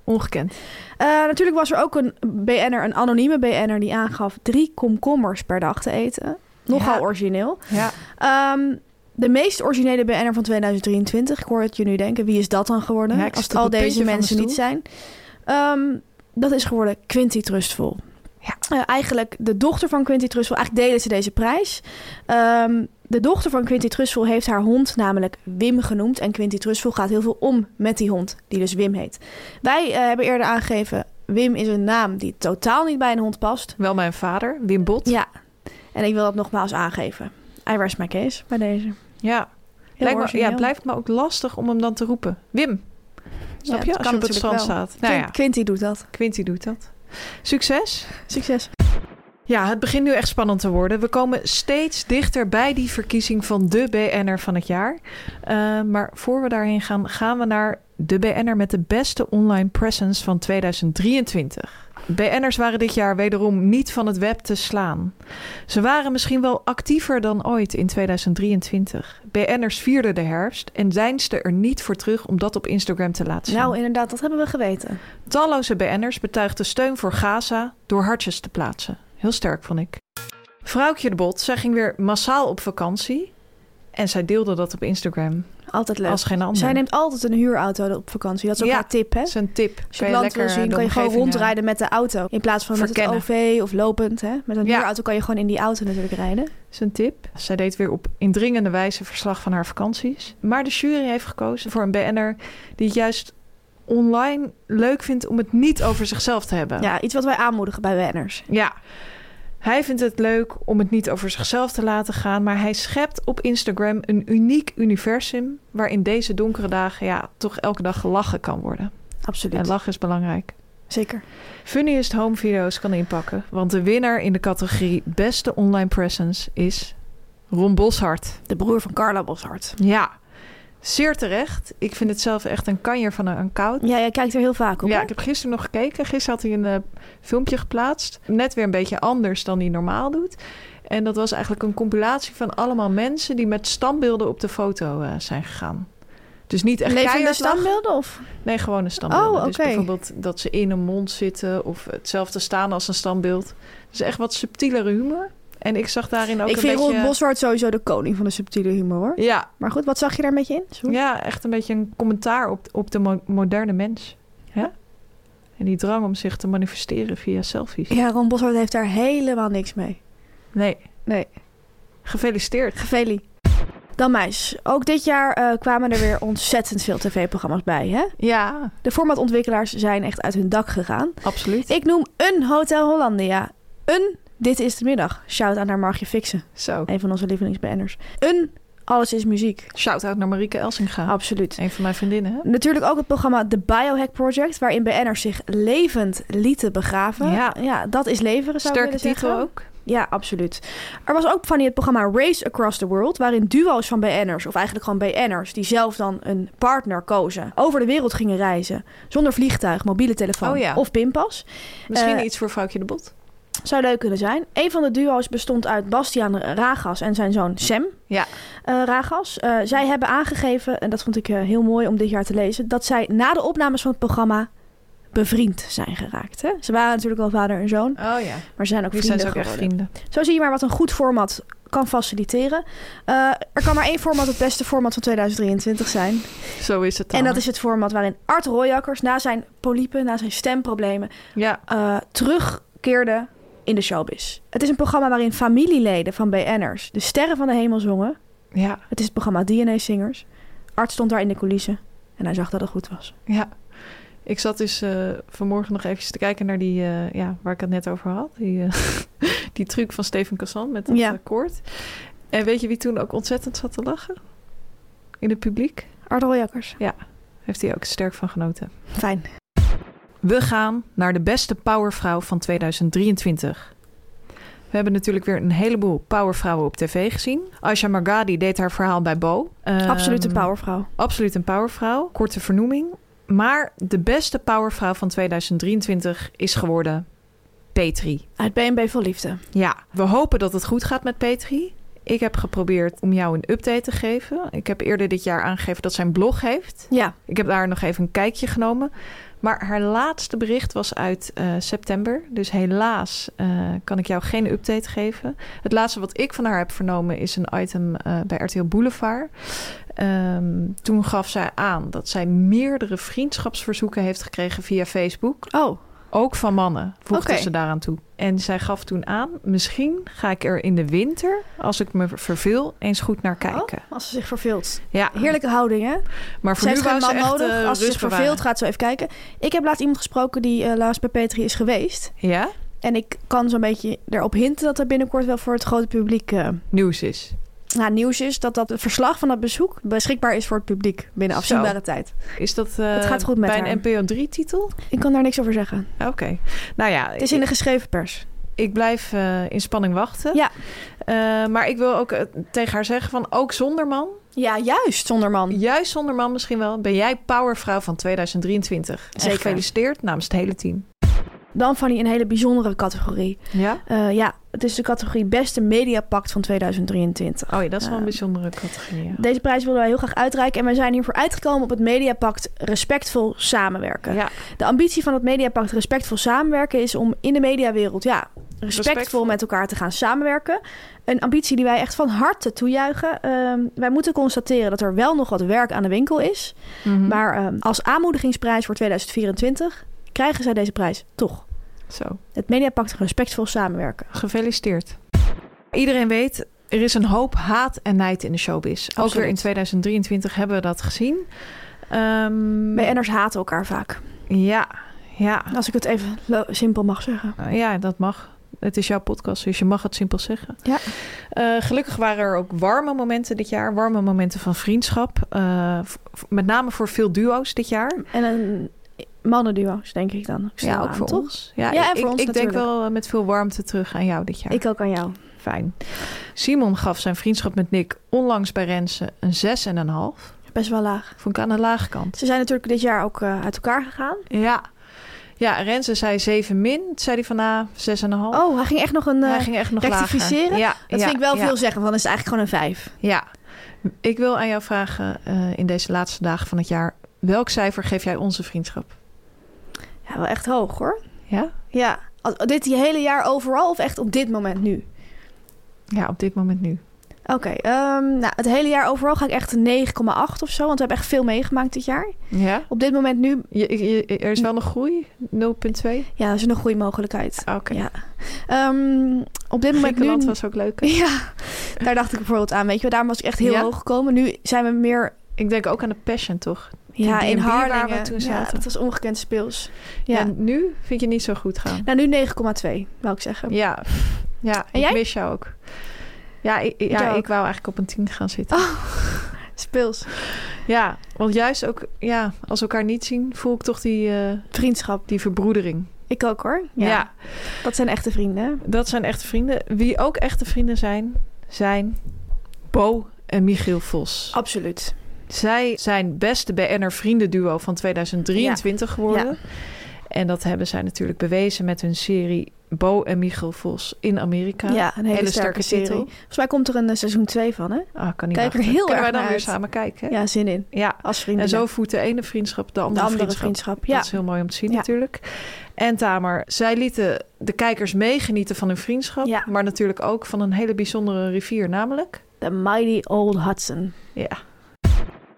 Speaker 1: ongekend.
Speaker 2: Eh, natuurlijk was er ook een BN'er, een anonieme BN'er, die aangaf drie komkommers per dag te eten. Nogal
Speaker 1: Ja.
Speaker 2: origineel.
Speaker 1: Ja.
Speaker 2: Ehm, de meest originele BN'er van 2023, ik hoor het je nu denken, wie is dat dan geworden?
Speaker 1: Ja, ik
Speaker 2: als
Speaker 1: zit
Speaker 2: het
Speaker 1: op
Speaker 2: al
Speaker 1: het puntje
Speaker 2: deze
Speaker 1: van mijn
Speaker 2: mensen niet zijn. Ehm, dat is geworden Quinty Trustful.
Speaker 1: Ja.
Speaker 2: Eh, eigenlijk de dochter van Quinty Trustful, eigenlijk delen ze deze prijs. Ehm, de dochter van Quinty Trustful heeft haar hond namelijk Wim genoemd. En Quinty Trustful gaat heel veel om met die hond, die dus Wim heet. Wij eh, hebben eerder aangegeven, Wim is een naam die totaal niet bij een hond past.
Speaker 1: Wel mijn vader, Wim Bot.
Speaker 2: Ja, en ik wil dat nogmaals aangeven. I rest my case bij deze. Heel
Speaker 1: Ja. Lijkt me, ja,
Speaker 2: origineel.
Speaker 1: het blijft me ook lastig om hem dan te roepen. Wim. Snap
Speaker 2: Ja,
Speaker 1: je?
Speaker 2: dat
Speaker 1: Als
Speaker 2: kan
Speaker 1: je op het
Speaker 2: natuurlijk
Speaker 1: strand
Speaker 2: wel.
Speaker 1: staat. Nou ja,
Speaker 2: Quint- Quinty doet dat.
Speaker 1: Quinty doet dat. Succes.
Speaker 2: Succes.
Speaker 1: Ja, het begint nu echt spannend te worden. We komen steeds dichter bij die verkiezing van de BN'er van het jaar. Eh, maar voor we daarheen gaan, gaan we naar de BN'er met de beste online presence van 2023. BN'ers waren dit jaar wederom niet van het web te slaan. Ze waren misschien wel actiever dan ooit in 2023. BN'ers vierden de herfst en deinsden er niet voor terug om dat op Instagram te laten zien.
Speaker 2: Nou, inderdaad, dat hebben we geweten.
Speaker 1: Talloze BN'ers betuigden steun voor Gaza door hartjes te plaatsen. Heel sterk, vond ik. Vrouwtje de Bot, zij ging weer massaal op vakantie. En zij deelde dat op Instagram.
Speaker 2: Altijd leuk.
Speaker 1: Als geen ander.
Speaker 2: Zij neemt altijd een huurauto op vakantie. Dat is ook
Speaker 1: Ja.
Speaker 2: haar tip, hè?
Speaker 1: Dat is een tip.
Speaker 2: Als je het land wil zien,
Speaker 1: de
Speaker 2: kan je gewoon
Speaker 1: omgeving, eh,
Speaker 2: rondrijden met de auto. In plaats van met het
Speaker 1: Verkennen.
Speaker 2: OV of lopend, hè? Met een
Speaker 1: Ja.
Speaker 2: huurauto kan je gewoon in die auto natuurlijk rijden.
Speaker 1: is een tip. Zij deed weer op indringende wijze verslag van haar vakanties. Maar de jury heeft gekozen voor een BN'er die het juist online leuk vindt om het niet over zichzelf te hebben.
Speaker 2: Ja, iets wat wij aanmoedigen bij wenners.
Speaker 1: Ja. Hij vindt het leuk om het niet over zichzelf te laten gaan, maar hij schept op Instagram een uniek universum waarin deze donkere dagen ja, toch elke dag gelachen kan worden. En
Speaker 2: Absoluut.
Speaker 1: lachen is belangrijk.
Speaker 2: Zeker.
Speaker 1: Funniest home video's kan inpakken, want de winnaar in de categorie beste online presence is Ron Boshart.
Speaker 2: De broer van Carla Boshart.
Speaker 1: Ja, zeer terecht. Ik vind het zelf echt een kanjer van een, een koud.
Speaker 2: Ja, jij kijkt er heel vaak op.
Speaker 1: Ja,
Speaker 2: hè?
Speaker 1: ik heb gisteren nog gekeken. Gisteren had hij een eh, filmpje geplaatst. Net weer een beetje anders dan hij normaal doet. En dat was eigenlijk een compilatie van allemaal mensen die met standbeelden op de foto eh, zijn gegaan. Dus niet echt
Speaker 2: Levende
Speaker 1: keihard lachen.
Speaker 2: standbeelden of?
Speaker 1: Nee, gewone standbeelden.
Speaker 2: Oh,
Speaker 1: Dus
Speaker 2: oké.
Speaker 1: bijvoorbeeld dat ze in een mond zitten of hetzelfde staan als een standbeeld. Dus echt wat subtielere humor. En ik zag daarin ook
Speaker 2: ik
Speaker 1: een
Speaker 2: vind
Speaker 1: beetje...
Speaker 2: Ron Boshart sowieso de koning van de subtiele humor, hoor.
Speaker 1: ja,
Speaker 2: Maar goed, wat zag je daar een beetje in? Sorry.
Speaker 1: Ja, echt een beetje een commentaar op, op de mo- moderne mens. Ja? En die drang om zich te manifesteren via selfies.
Speaker 2: ja, Ron Boshart heeft daar helemaal niks mee.
Speaker 1: Nee.
Speaker 2: Nee.
Speaker 1: Gefeliciteerd.
Speaker 2: Gefelie. Dan meis, ook dit jaar eh, kwamen er weer ontzettend veel tv-programma's bij. Hè?
Speaker 1: Ja,
Speaker 2: De formatontwikkelaars zijn echt uit hun dak gegaan.
Speaker 1: absoluut.
Speaker 2: Ik noem een Hotel Hollandia. Een Dit is de Middag. Shout aan naar Margje Fixen,
Speaker 1: Zo.
Speaker 2: een van onze lievelingsbanners. Een Alles is Muziek.
Speaker 1: Shout-out naar Marieke Elsinga.
Speaker 2: Absoluut.
Speaker 1: Een van mijn vriendinnen, hè?
Speaker 2: Natuurlijk ook het programma The Biohack Project, waarin BN'ers zich levend lieten begraven.
Speaker 1: Ja.
Speaker 2: dat is leveren, zou ik
Speaker 1: Sterke
Speaker 2: willen
Speaker 1: titel
Speaker 2: zeggen.
Speaker 1: ook.
Speaker 2: Ja, absoluut. Er was ook van die het programma Race Across the World, waarin duo's van BN'ers, of eigenlijk gewoon BN'ers, die zelf dan een partner kozen, over de wereld gingen reizen. Zonder vliegtuig, mobiele telefoon
Speaker 1: Oh ja.
Speaker 2: of pinpas.
Speaker 1: Misschien
Speaker 2: Eh,
Speaker 1: iets voor Vrouwtje de Bot.
Speaker 2: Zou leuk kunnen zijn. Een van de duo's bestond uit Bastiaan Ragas en zijn zoon Sam
Speaker 1: Ja.
Speaker 2: eh, Ragas. Eh, zij hebben aangegeven, en dat vond ik eh, heel mooi om dit jaar te lezen, dat zij na de opnames van het programma bevriend zijn geraakt. Hè? Ze waren natuurlijk al vader en zoon,
Speaker 1: Oh ja.
Speaker 2: maar ze zijn ook
Speaker 1: Nu zijn
Speaker 2: vrienden
Speaker 1: ze ook
Speaker 2: geworden.
Speaker 1: echt vrienden.
Speaker 2: Zo zie je maar wat een goed format kan faciliteren. Eh, er kan maar één format het beste format van 2023 zijn.
Speaker 1: Zo is het dan.
Speaker 2: En dat is het format waarin Art Royakkers na zijn polypen, na zijn stemproblemen,
Speaker 1: Ja,
Speaker 2: eh, terugkeerde in de showbiz. Het is een programma waarin familieleden van BN'ers de sterren van de hemel zongen.
Speaker 1: ja,
Speaker 2: Het is het programma DNA Singers. Art stond daar in de coulissen en hij zag dat het goed was.
Speaker 1: ja. Ik Ik zat dus eh, vanmorgen nog eventjes te kijken naar die, eh, ja, waar ik het net over had. Die, eh, die truc van Steven Cassan met dat
Speaker 2: Ja.
Speaker 1: eh, koord. En weet je wie toen ook ontzettend zat te lachen? In het publiek.
Speaker 2: Ardal Jakkers.
Speaker 1: Heeft hij ook sterk van genoten.
Speaker 2: Fijn.
Speaker 1: We gaan naar de beste powervrouw van 2023. We hebben natuurlijk weer een heleboel powervrouwen op tv gezien. Aisha Margadi deed haar verhaal bij Bo. Ehm,
Speaker 2: Absolute powervrouw.
Speaker 1: Absoluut een powervrouw. Korte vernoeming. Maar de beste powervrouw van 2023 is geworden Petri.
Speaker 2: Uit BNB Vol Liefde.
Speaker 1: Ja, we hopen dat het goed gaat met Petri. Ik heb geprobeerd om jou een update te geven. Ik heb eerder dit jaar aangegeven dat zij een blog heeft.
Speaker 2: Ja.
Speaker 1: Ik heb daar nog even een kijkje genomen. Maar haar laatste bericht was uit eh, september. Dus helaas eh, kan ik jou geen update geven. Het laatste wat ik van haar heb vernomen is een item eh, bij RTL Boulevard. Ehm, toen gaf zij aan dat zij meerdere vriendschapsverzoeken heeft gekregen via Facebook.
Speaker 2: Oh,
Speaker 1: Ook van mannen, voegde
Speaker 2: Oké.
Speaker 1: ze daaraan toe. En zij gaf toen aan, misschien ga ik er in de winter, als ik me verveel, eens goed naar kijken.
Speaker 2: Oh, als ze zich verveelt.
Speaker 1: Ja,
Speaker 2: Heerlijke houding, hè?
Speaker 1: Maar
Speaker 2: Ze
Speaker 1: voor
Speaker 2: heeft
Speaker 1: nu
Speaker 2: geen
Speaker 1: wou ze
Speaker 2: man
Speaker 1: echt
Speaker 2: nodig.
Speaker 1: eh,
Speaker 2: als ze
Speaker 1: rust
Speaker 2: zich verveelt,
Speaker 1: bewaren.
Speaker 2: gaat ze even kijken. Ik heb laatst iemand gesproken die eh, laatst bij Petri is geweest.
Speaker 1: Ja,
Speaker 2: En ik kan zo'n beetje erop hinten dat er binnenkort wel voor het grote publiek eh,
Speaker 1: nieuws is.
Speaker 2: nou, nieuws is. Dat, dat het verslag van dat bezoek beschikbaar is voor het publiek binnen
Speaker 1: Zo.
Speaker 2: afzienbare tijd.
Speaker 1: Is dat eh,
Speaker 2: Het gaat goed met
Speaker 1: bij
Speaker 2: haar.
Speaker 1: een NPO 3-titel?
Speaker 2: Ik kan daar niks over zeggen.
Speaker 1: Oké. Nou ja,
Speaker 2: Het is in de geschreven pers.
Speaker 1: ik blijf eh, in spanning wachten.
Speaker 2: Ja.
Speaker 1: Eh, maar ik wil ook eh, tegen haar zeggen van ook zonder man,
Speaker 2: Ja, juist, zonder man.
Speaker 1: juist zonder man misschien wel, ben jij powervrouw van 2023. En
Speaker 2: Zeker.
Speaker 1: gefeliciteerd namens het hele team.
Speaker 2: Dan van die een hele bijzondere categorie.
Speaker 1: Ja?
Speaker 2: Eh, ja, het is de categorie Beste Mediapact van 2023.
Speaker 1: Oh ja, dat is wel een
Speaker 2: Eh,
Speaker 1: bijzondere categorie. ja.
Speaker 2: Deze prijs willen wij heel graag uitreiken. En wij zijn hiervoor uitgekomen op het Mediapact Respectvol Samenwerken.
Speaker 1: Ja,
Speaker 2: De ambitie van het Mediapact Respectvol Samenwerken is om in de mediawereld ja, respectvol,
Speaker 1: Respectvol.
Speaker 2: met elkaar te gaan samenwerken. Een ambitie die wij echt van harte toejuichen. Ehm, wij moeten constateren dat er wel nog wat werk aan de winkel is.
Speaker 1: Mhm.
Speaker 2: Maar ehm, als aanmoedigingsprijs voor 2024 krijgen zij deze prijs toch.
Speaker 1: zo.
Speaker 2: Het Mediapact Respectvol Samenwerken.
Speaker 1: Gefeliciteerd. Iedereen weet, er is een hoop haat en nijd in de showbiz. Ook
Speaker 2: Absoluut.
Speaker 1: weer in 2023 hebben we dat gezien. Ehm,
Speaker 2: BN'ers haten elkaar vaak.
Speaker 1: ja, ja.
Speaker 2: Als ik het even lo- simpel mag zeggen.
Speaker 1: Eh, ja, dat mag. Het is jouw podcast, dus je mag het simpel zeggen.
Speaker 2: Ja.
Speaker 1: Eh, gelukkig waren er ook warme momenten dit jaar. Warme momenten van vriendschap. Eh, v- v- met name voor veel duo's dit jaar.
Speaker 2: En een mannenduo's, denk ik dan. Ik stel aan, toch?
Speaker 1: ons. Ja,
Speaker 2: Ja,
Speaker 1: ik-
Speaker 2: en voor
Speaker 1: ik,
Speaker 2: ons
Speaker 1: Ik denk
Speaker 2: natuurlijk.
Speaker 1: wel eh, met veel warmte terug aan jou dit jaar.
Speaker 2: Ik ook aan jou.
Speaker 1: Fijn. Simon gaf zijn vriendschap met Nick onlangs bij Rensen een 6,5.
Speaker 2: Best wel laag.
Speaker 1: Vond ik aan de lage kant.
Speaker 2: Ze zijn natuurlijk dit jaar ook eh, uit elkaar gegaan.
Speaker 1: Ja. Ja, Rensen zei 7 min. Toen zei hij van ah, 6,5.
Speaker 2: Oh, hij ging echt nog een. eh,
Speaker 1: Hij ging echt nog
Speaker 2: rectificeren?
Speaker 1: lager. Ja,
Speaker 2: dat
Speaker 1: ja,
Speaker 2: vind ik wel
Speaker 1: ja.
Speaker 2: veel zeggen, want dan is het eigenlijk gewoon een vijf.
Speaker 1: Ja, ik wil aan jou vragen eh, in deze laatste dagen van het jaar: welk cijfer geef jij onze vriendschap?
Speaker 2: Ja, wel echt hoog hoor.
Speaker 1: Ja,
Speaker 2: Ja. Als- Dit die hele jaar overal of echt op dit moment nu?
Speaker 1: ja op dit moment nu.
Speaker 2: Oké, ehm, nou, het hele jaar overal ga ik echt een 9,8 of zo, want we hebben echt veel meegemaakt dit jaar.
Speaker 1: Ja?
Speaker 2: Op dit moment nu,
Speaker 1: Je, je- er is wel nog groei, 0,2. Oké.
Speaker 2: ja, dat is een goede mogelijkheid. Ja. Ehm, op dit moment nu...
Speaker 1: Griekenland was ook leuk. hè?
Speaker 2: Ja, daar dacht ik bijvoorbeeld aan, weet je wel. Daarom was ik echt heel
Speaker 1: Ja?
Speaker 2: hoog gekomen. Nu zijn we meer
Speaker 1: Ik denk ook aan de Passion, toch?
Speaker 2: ja,
Speaker 1: Die
Speaker 2: in
Speaker 1: B&B waar we
Speaker 2: Harlingen.
Speaker 1: toen
Speaker 2: ja,
Speaker 1: zaten.
Speaker 2: dat was ongekend speels.
Speaker 1: Ja.
Speaker 2: Ja.
Speaker 1: nu vind je het niet zo goed gaan.
Speaker 2: Nou, nu 9,2, wou ik zeggen.
Speaker 1: Ja, ja ik
Speaker 2: Nou. En jij?
Speaker 1: mis jou ook. Ja, ik, ja,
Speaker 2: Jou ook. Ah.
Speaker 1: ik wou eigenlijk op een 10 gaan zitten.
Speaker 2: Speels.
Speaker 1: Ja, want juist ook ja, als we elkaar niet zien, voel ik toch die, eh,
Speaker 2: Vriendschap.
Speaker 1: die verbroedering.
Speaker 2: Ik ook hoor. Ja.
Speaker 1: ja,
Speaker 2: Dat zijn echte vrienden. hè?
Speaker 1: Dat zijn echte vrienden. Wie ook echte vrienden zijn, zijn Bo en Michiel
Speaker 2: Oh.
Speaker 1: Vos.
Speaker 2: Absoluut.
Speaker 1: Zij zijn beste BN'er vriendenduo van 2023 geworden.
Speaker 2: Ja.
Speaker 1: En dat hebben zij natuurlijk bewezen met hun serie Bo en Michiel Vos in Amerika.
Speaker 2: Ja, een hele,
Speaker 1: Hele sterke
Speaker 2: sterke, serie.
Speaker 1: titel.
Speaker 2: Volgens mij komt er een eh, seizoen 2 van, hè?
Speaker 1: Ah, kan niet
Speaker 2: Kijk er
Speaker 1: wachten.
Speaker 2: heel
Speaker 1: Kunnen
Speaker 2: erg
Speaker 1: wij dan
Speaker 2: naar
Speaker 1: weer
Speaker 2: uit.
Speaker 1: samen kijken? hè?
Speaker 2: Ja, zin in.
Speaker 1: ja.
Speaker 2: Als vrienden.
Speaker 1: En zo voedt de ene vriendschap de
Speaker 2: de
Speaker 1: andere,
Speaker 2: andere vriendschap.
Speaker 1: vriendschap.
Speaker 2: Ja.
Speaker 1: Dat is heel mooi om te zien
Speaker 2: Ja.
Speaker 1: natuurlijk. En Tamer, zij lieten de kijkers meegenieten van hun vriendschap.
Speaker 2: Ja.
Speaker 1: Maar natuurlijk ook van een hele bijzondere rivier, namelijk...
Speaker 2: The Mighty Old Hudson.
Speaker 1: Ja,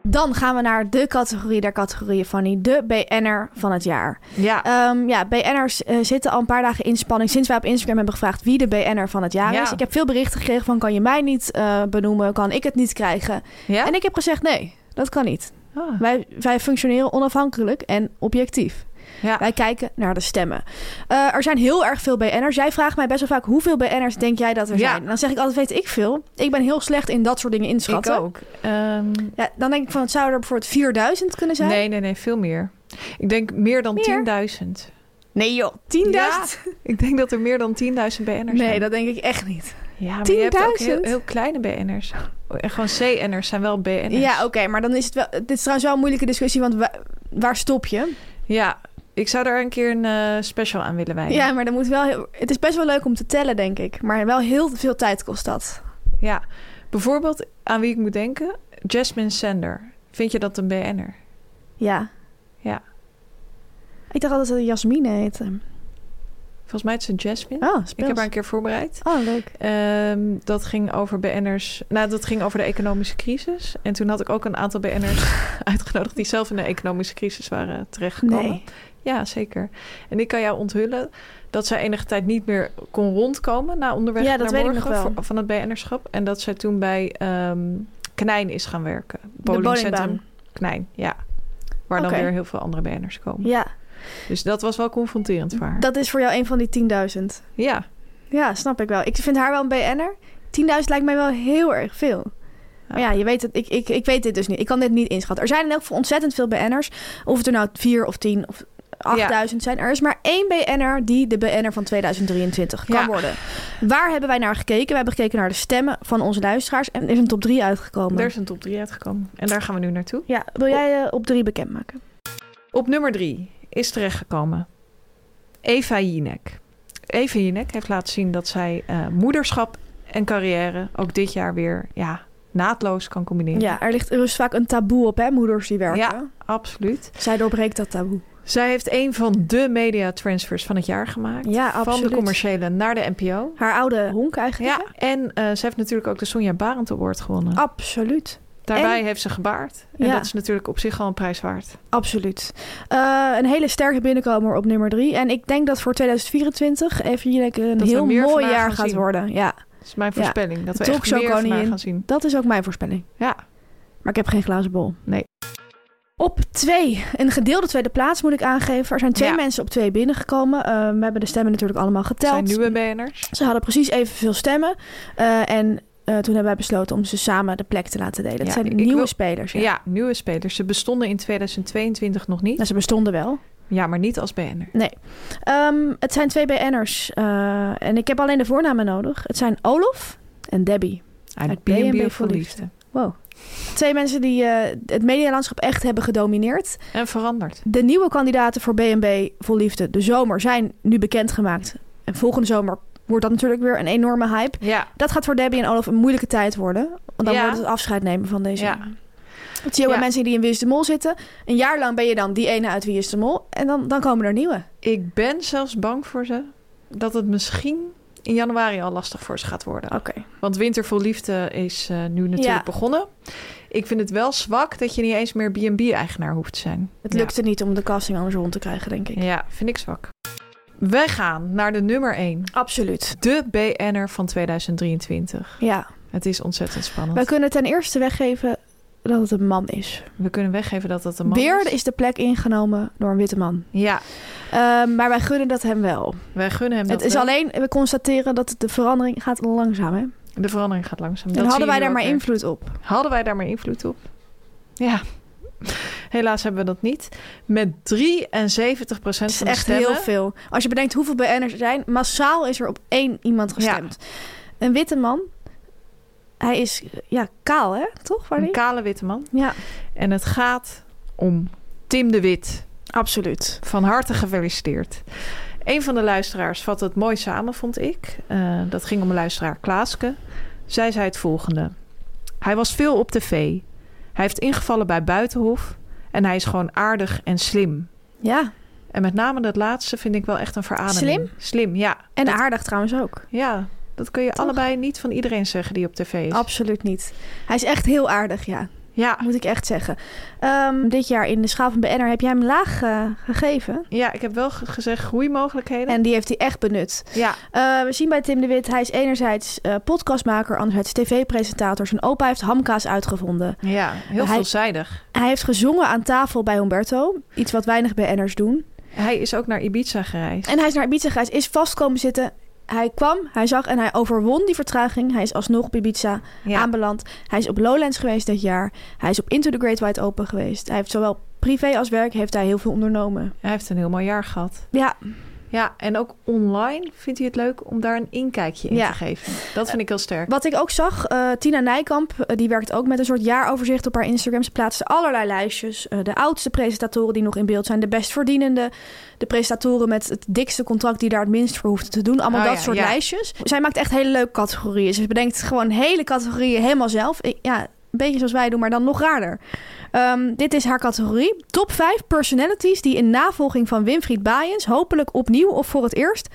Speaker 2: Dan gaan we naar de categorie der categorieën, Fanny. De BN'er van het jaar.
Speaker 1: ja.
Speaker 2: Ehm, ja, BN'ers eh, zitten al een paar dagen in spanning sinds wij op Instagram hebben gevraagd wie de BN'er van het jaar
Speaker 1: Ja.
Speaker 2: is. Ik heb veel berichten gekregen van kan je mij niet eh, benoemen, kan ik het niet krijgen.
Speaker 1: ja?
Speaker 2: En ik heb gezegd nee, dat kan niet.
Speaker 1: Ah,
Speaker 2: Wij, wij functioneren onafhankelijk en objectief.
Speaker 1: ja.
Speaker 2: Wij kijken naar de stemmen. Eh, er zijn heel erg veel BN'ers. Jij vraagt mij best wel vaak hoeveel BN'ers denk jij dat er
Speaker 1: Ja.
Speaker 2: zijn? En dan zeg ik altijd, weet ik veel. Ik ben heel slecht in dat soort dingen
Speaker 1: ik
Speaker 2: inschatten.
Speaker 1: ook. Ehm,
Speaker 2: Ja, dan denk ik van, het zou er bijvoorbeeld 4000 kunnen zijn.
Speaker 1: nee, nee, nee, veel meer. Ik denk meer dan
Speaker 2: Meer?
Speaker 1: 10.000.
Speaker 2: nee joh, 10.000?
Speaker 1: Ik denk dat er meer dan 10.000 BN'ers zijn.
Speaker 2: Nee, dat denk ik echt niet.
Speaker 1: Ja, maar je hebt ook heel,
Speaker 2: 10.000?
Speaker 1: heel kleine BN'ers. En Oh, gewoon CN'ers zijn wel BN'ers.
Speaker 2: Ja, oké, maar dan is het wel... Dit is trouwens wel een moeilijke discussie, want wa- waar stop je?
Speaker 1: Ja, ik zou daar een keer een eh, special aan willen wijden.
Speaker 2: Ja, maar dan moet wel heel- het is best wel leuk om te tellen, denk ik. Maar wel heel veel tijd kost dat.
Speaker 1: Ja. Bijvoorbeeld, aan wie ik moet denken? Jasmine Sander. Vind je dat een BN'er?
Speaker 2: Ja.
Speaker 1: Ja.
Speaker 2: Ik dacht altijd dat het Jasmine heette.
Speaker 1: Volgens mij is het Jasmine.
Speaker 2: Oh,
Speaker 1: ik
Speaker 2: speels.
Speaker 1: heb haar een keer voorbereid.
Speaker 2: Oh, leuk.
Speaker 1: Ehm, dat ging over BN'ers. Nou, dat ging over de economische crisis. En toen had ik ook een aantal BN'ers uitgenodigd die zelf in de economische crisis waren terechtgekomen.
Speaker 2: Nee.
Speaker 1: Ja, zeker. En ik kan jou onthullen dat zij enige tijd niet meer kon rondkomen na onderweg
Speaker 2: Ja, dat
Speaker 1: naar
Speaker 2: weet ik
Speaker 1: morgen
Speaker 2: nog wel.
Speaker 1: voor- van het BN'erschap. En dat zij toen bij ehm Knijn is gaan werken.
Speaker 2: De
Speaker 1: Bowlingcentrum
Speaker 2: bowlingbaan.
Speaker 1: Knijn, ja. Waar dan
Speaker 2: Oké.
Speaker 1: weer heel veel andere BN'ers komen.
Speaker 2: Ja,
Speaker 1: Dus dat was wel confronterend voor haar.
Speaker 2: dat is voor jou een van die 10.000.
Speaker 1: Ja,
Speaker 2: Ja, snap ik wel. Ik vind haar wel een BN'er. 10.000 lijkt mij wel heel erg veel. Maar ja, je weet het. Ik, ik, ik weet dit dus niet. Ik kan dit niet inschatten. Er zijn in elk geval ontzettend veel BN'ers. Of het er nou 4 of 10 of 8000 zijn. Er is maar één BN'er die de BN'er van 2023 kan
Speaker 1: Ja.
Speaker 2: worden. Waar hebben wij naar gekeken? We hebben gekeken naar de stemmen van onze luisteraars. En er is een top 3 uitgekomen.
Speaker 1: er is een top 3 uitgekomen. En daar gaan we nu naartoe.
Speaker 2: Ja, wil jij eh, op 3 bekendmaken?
Speaker 1: Op nummer drie is terechtgekomen Eva Jinek. Eva Jinek heeft laten zien dat zij eh, moederschap en carrière ook dit jaar weer ja, naadloos kan combineren.
Speaker 2: Ja, er ligt er is vaak een taboe op, hè? Moeders die werken.
Speaker 1: Ja. absoluut.
Speaker 2: Zij doorbreekt dat taboe.
Speaker 1: Zij heeft een van de media transfers van het jaar gemaakt.
Speaker 2: Ja,
Speaker 1: Van
Speaker 2: absoluut.
Speaker 1: de commerciële naar de NPO.
Speaker 2: Haar oude honk eigenlijk.
Speaker 1: Ja, en eh, ze heeft natuurlijk ook de Sonja Barend Award gewonnen.
Speaker 2: hè? Absoluut.
Speaker 1: Daarbij
Speaker 2: en-
Speaker 1: heeft ze gebaard. En
Speaker 2: Ja.
Speaker 1: dat is natuurlijk op zich al een prijs waard.
Speaker 2: Absoluut. Eh, een hele sterke binnenkomer op nummer drie. En ik denk dat voor 2024 even Jinek een
Speaker 1: we
Speaker 2: heel
Speaker 1: meer van
Speaker 2: mooi
Speaker 1: haar
Speaker 2: jaar
Speaker 1: gaan
Speaker 2: gaat
Speaker 1: zien.
Speaker 2: worden. Ja,
Speaker 1: Dat is mijn
Speaker 2: Ja.
Speaker 1: voorspelling. Dat we
Speaker 2: De
Speaker 1: echt meer van haar
Speaker 2: talkshow-koningin.
Speaker 1: gaan zien.
Speaker 2: dat is ook mijn voorspelling.
Speaker 1: Ja,
Speaker 2: Maar ik heb geen glazen bol.
Speaker 1: Nee.
Speaker 2: Op twee, een gedeelde tweede plaats moet ik aangeven. Er zijn twee
Speaker 1: Ja.
Speaker 2: mensen op twee binnengekomen. Eh, we hebben de stemmen natuurlijk allemaal
Speaker 1: dat zijn
Speaker 2: geteld.
Speaker 1: nieuwe BN'ers.
Speaker 2: Ze hadden precies evenveel stemmen. Eh, en eh, toen hebben wij besloten om ze samen de plek te laten delen. Het
Speaker 1: Ja,
Speaker 2: zijn
Speaker 1: ik- ik
Speaker 2: nieuwe
Speaker 1: wil-
Speaker 2: spelers. Ja.
Speaker 1: Ja. nieuwe spelers. Ze bestonden in 2022 nog niet.
Speaker 2: Nou, ze bestonden wel.
Speaker 1: Ja, maar niet als BN'er.
Speaker 2: Ehm, het zijn twee BN'ers. eh, en ik heb alleen de voornamen nodig. Het zijn Olof en Debbie.
Speaker 1: Uit
Speaker 2: B&B
Speaker 1: B&B voor
Speaker 2: voor
Speaker 1: liefde.
Speaker 2: Wow. Twee mensen die eh, het medialandschap echt hebben gedomineerd.
Speaker 1: En veranderd.
Speaker 2: De nieuwe kandidaten voor BNB Vol Liefde de zomer zijn nu bekendgemaakt. En volgende zomer wordt dat natuurlijk weer een enorme hype.
Speaker 1: Ja,
Speaker 2: Dat gaat voor Debbie en Olaf een moeilijke tijd worden. Want dan
Speaker 1: Ja.
Speaker 2: wordt het afscheid nemen van deze.
Speaker 1: ja.
Speaker 2: Dat zie je ook
Speaker 1: Ja.
Speaker 2: bij mensen die in Wie is de Mol zitten. Een jaar lang ben je dan die ene uit Wie is de Mol. En dan, dan komen er nieuwe.
Speaker 1: Ik ben zelfs bang voor ze dat het misschien in januari al lastig voor ze gaat worden.
Speaker 2: Oké.
Speaker 1: Want Winter vol Liefde is eh, nu natuurlijk
Speaker 2: Ja.
Speaker 1: begonnen. Ik vind het wel zwak dat je niet eens meer B&B-eigenaar hoeft te zijn.
Speaker 2: Het lukte niet om de casting anders rond te krijgen, denk ik.
Speaker 1: Ja. ja, vind ik zwak. Wij gaan naar de nummer 1.
Speaker 2: Absoluut.
Speaker 1: De BN'er van 2023.
Speaker 2: Ja.
Speaker 1: Het is ontzettend spannend.
Speaker 2: Wij kunnen ten eerste weggeven dat het een man is.
Speaker 1: We kunnen weggeven dat dat een man
Speaker 2: Weer
Speaker 1: is.
Speaker 2: is de plek ingenomen door een witte man.
Speaker 1: Ja,
Speaker 2: Ehm, maar wij gunnen dat hem wel.
Speaker 1: Wij gunnen hem
Speaker 2: het
Speaker 1: dat
Speaker 2: is
Speaker 1: wel.
Speaker 2: alleen, we constateren dat de verandering gaat langzaam. Hè? En
Speaker 1: De verandering gaat langzaam. Dat zie
Speaker 2: hadden
Speaker 1: je
Speaker 2: wij
Speaker 1: nu
Speaker 2: daar
Speaker 1: ook
Speaker 2: maar
Speaker 1: weer.
Speaker 2: invloed op.
Speaker 1: Hadden wij daar maar invloed op? Ja. Helaas hebben we dat niet. Met 73
Speaker 2: Dat
Speaker 1: procent
Speaker 2: is
Speaker 1: van de
Speaker 2: echt
Speaker 1: stemmen.
Speaker 2: heel veel. Als je bedenkt hoeveel BN'ers er zijn, massaal is er op één iemand gestemd. Een witte man. Hij is ja, kaal, hè? Toch? Waar
Speaker 1: Een kale witte man.
Speaker 2: Ja,
Speaker 1: En het gaat om Tim de Wit.
Speaker 2: absoluut.
Speaker 1: Van harte gefeliciteerd. Een van de luisteraars vat het mooi samen, vond ik. Eh, dat ging om luisteraar Klaaske. Zij zei het volgende. Hij was veel op tv. Hij heeft ingevallen bij Buitenhof. En hij is gewoon aardig en slim.
Speaker 2: Ja,
Speaker 1: En met name dat laatste vind ik wel echt een verademing.
Speaker 2: Slim?
Speaker 1: Slim, ja.
Speaker 2: en
Speaker 1: dat,
Speaker 2: aardig trouwens ook.
Speaker 1: ja, dat kun je allebei niet van iedereen zeggen die op tv is.
Speaker 2: Absoluut niet. Hij is echt heel aardig, ja.
Speaker 1: Ja.
Speaker 2: moet ik echt zeggen. Ehm, dit jaar in de schaal van BNR heb jij hem laag eh, gegeven.
Speaker 1: ja, ik heb wel ge- gezegd groeimogelijkheden.
Speaker 2: En die heeft hij echt benut.
Speaker 1: ja,
Speaker 2: Eh, we zien bij Tim de Wit, hij is enerzijds eh, podcastmaker, anderzijds tv-presentator. Zijn opa heeft hamkaas uitgevonden.
Speaker 1: ja, heel
Speaker 2: Hij-
Speaker 1: veelzijdig.
Speaker 2: Hij heeft gezongen aan tafel bij Humberto, iets wat weinig BN'ers doen.
Speaker 1: Hij is ook naar Ibiza gereisd.
Speaker 2: En hij is naar Ibiza gereisd, is vast komen zitten. Hij kwam, hij zag en hij overwon die vertraging. Hij is alsnog op Ibiza
Speaker 1: Ja.
Speaker 2: aanbeland. Hij is op Lowlands geweest dit jaar. Hij is op Into the Great Wide Open geweest. Hij heeft zowel privé als werk heeft hij heel veel ondernomen.
Speaker 1: Hij heeft een heel mooi jaar gehad.
Speaker 2: Ja,
Speaker 1: Ja, en ook online vindt hij het leuk om daar een inkijkje in
Speaker 2: Ja.
Speaker 1: te geven. Dat vind ik heel sterk.
Speaker 2: Wat ik ook zag, eh, Tina Nijkamp, eh, die werkt ook met een soort jaaroverzicht op haar Instagram. Ze plaatste allerlei lijstjes. Eh, de oudste presentatoren die nog in beeld zijn, de best verdienende, de presentatoren met het dikste contract die daar het minst voor hoeft te doen. Allemaal
Speaker 1: Oh
Speaker 2: dat
Speaker 1: ja,
Speaker 2: soort
Speaker 1: ja.
Speaker 2: lijstjes. Zij maakt echt hele leuke categorieën. Ze bedenkt gewoon hele categorieën helemaal zelf. Ik- ja, een beetje zoals wij doen, maar dan nog raarder. Ehm, dit is haar categorie. Top 5 personalities die in navolging van Winfried Baaiens... hopelijk opnieuw of voor het eerst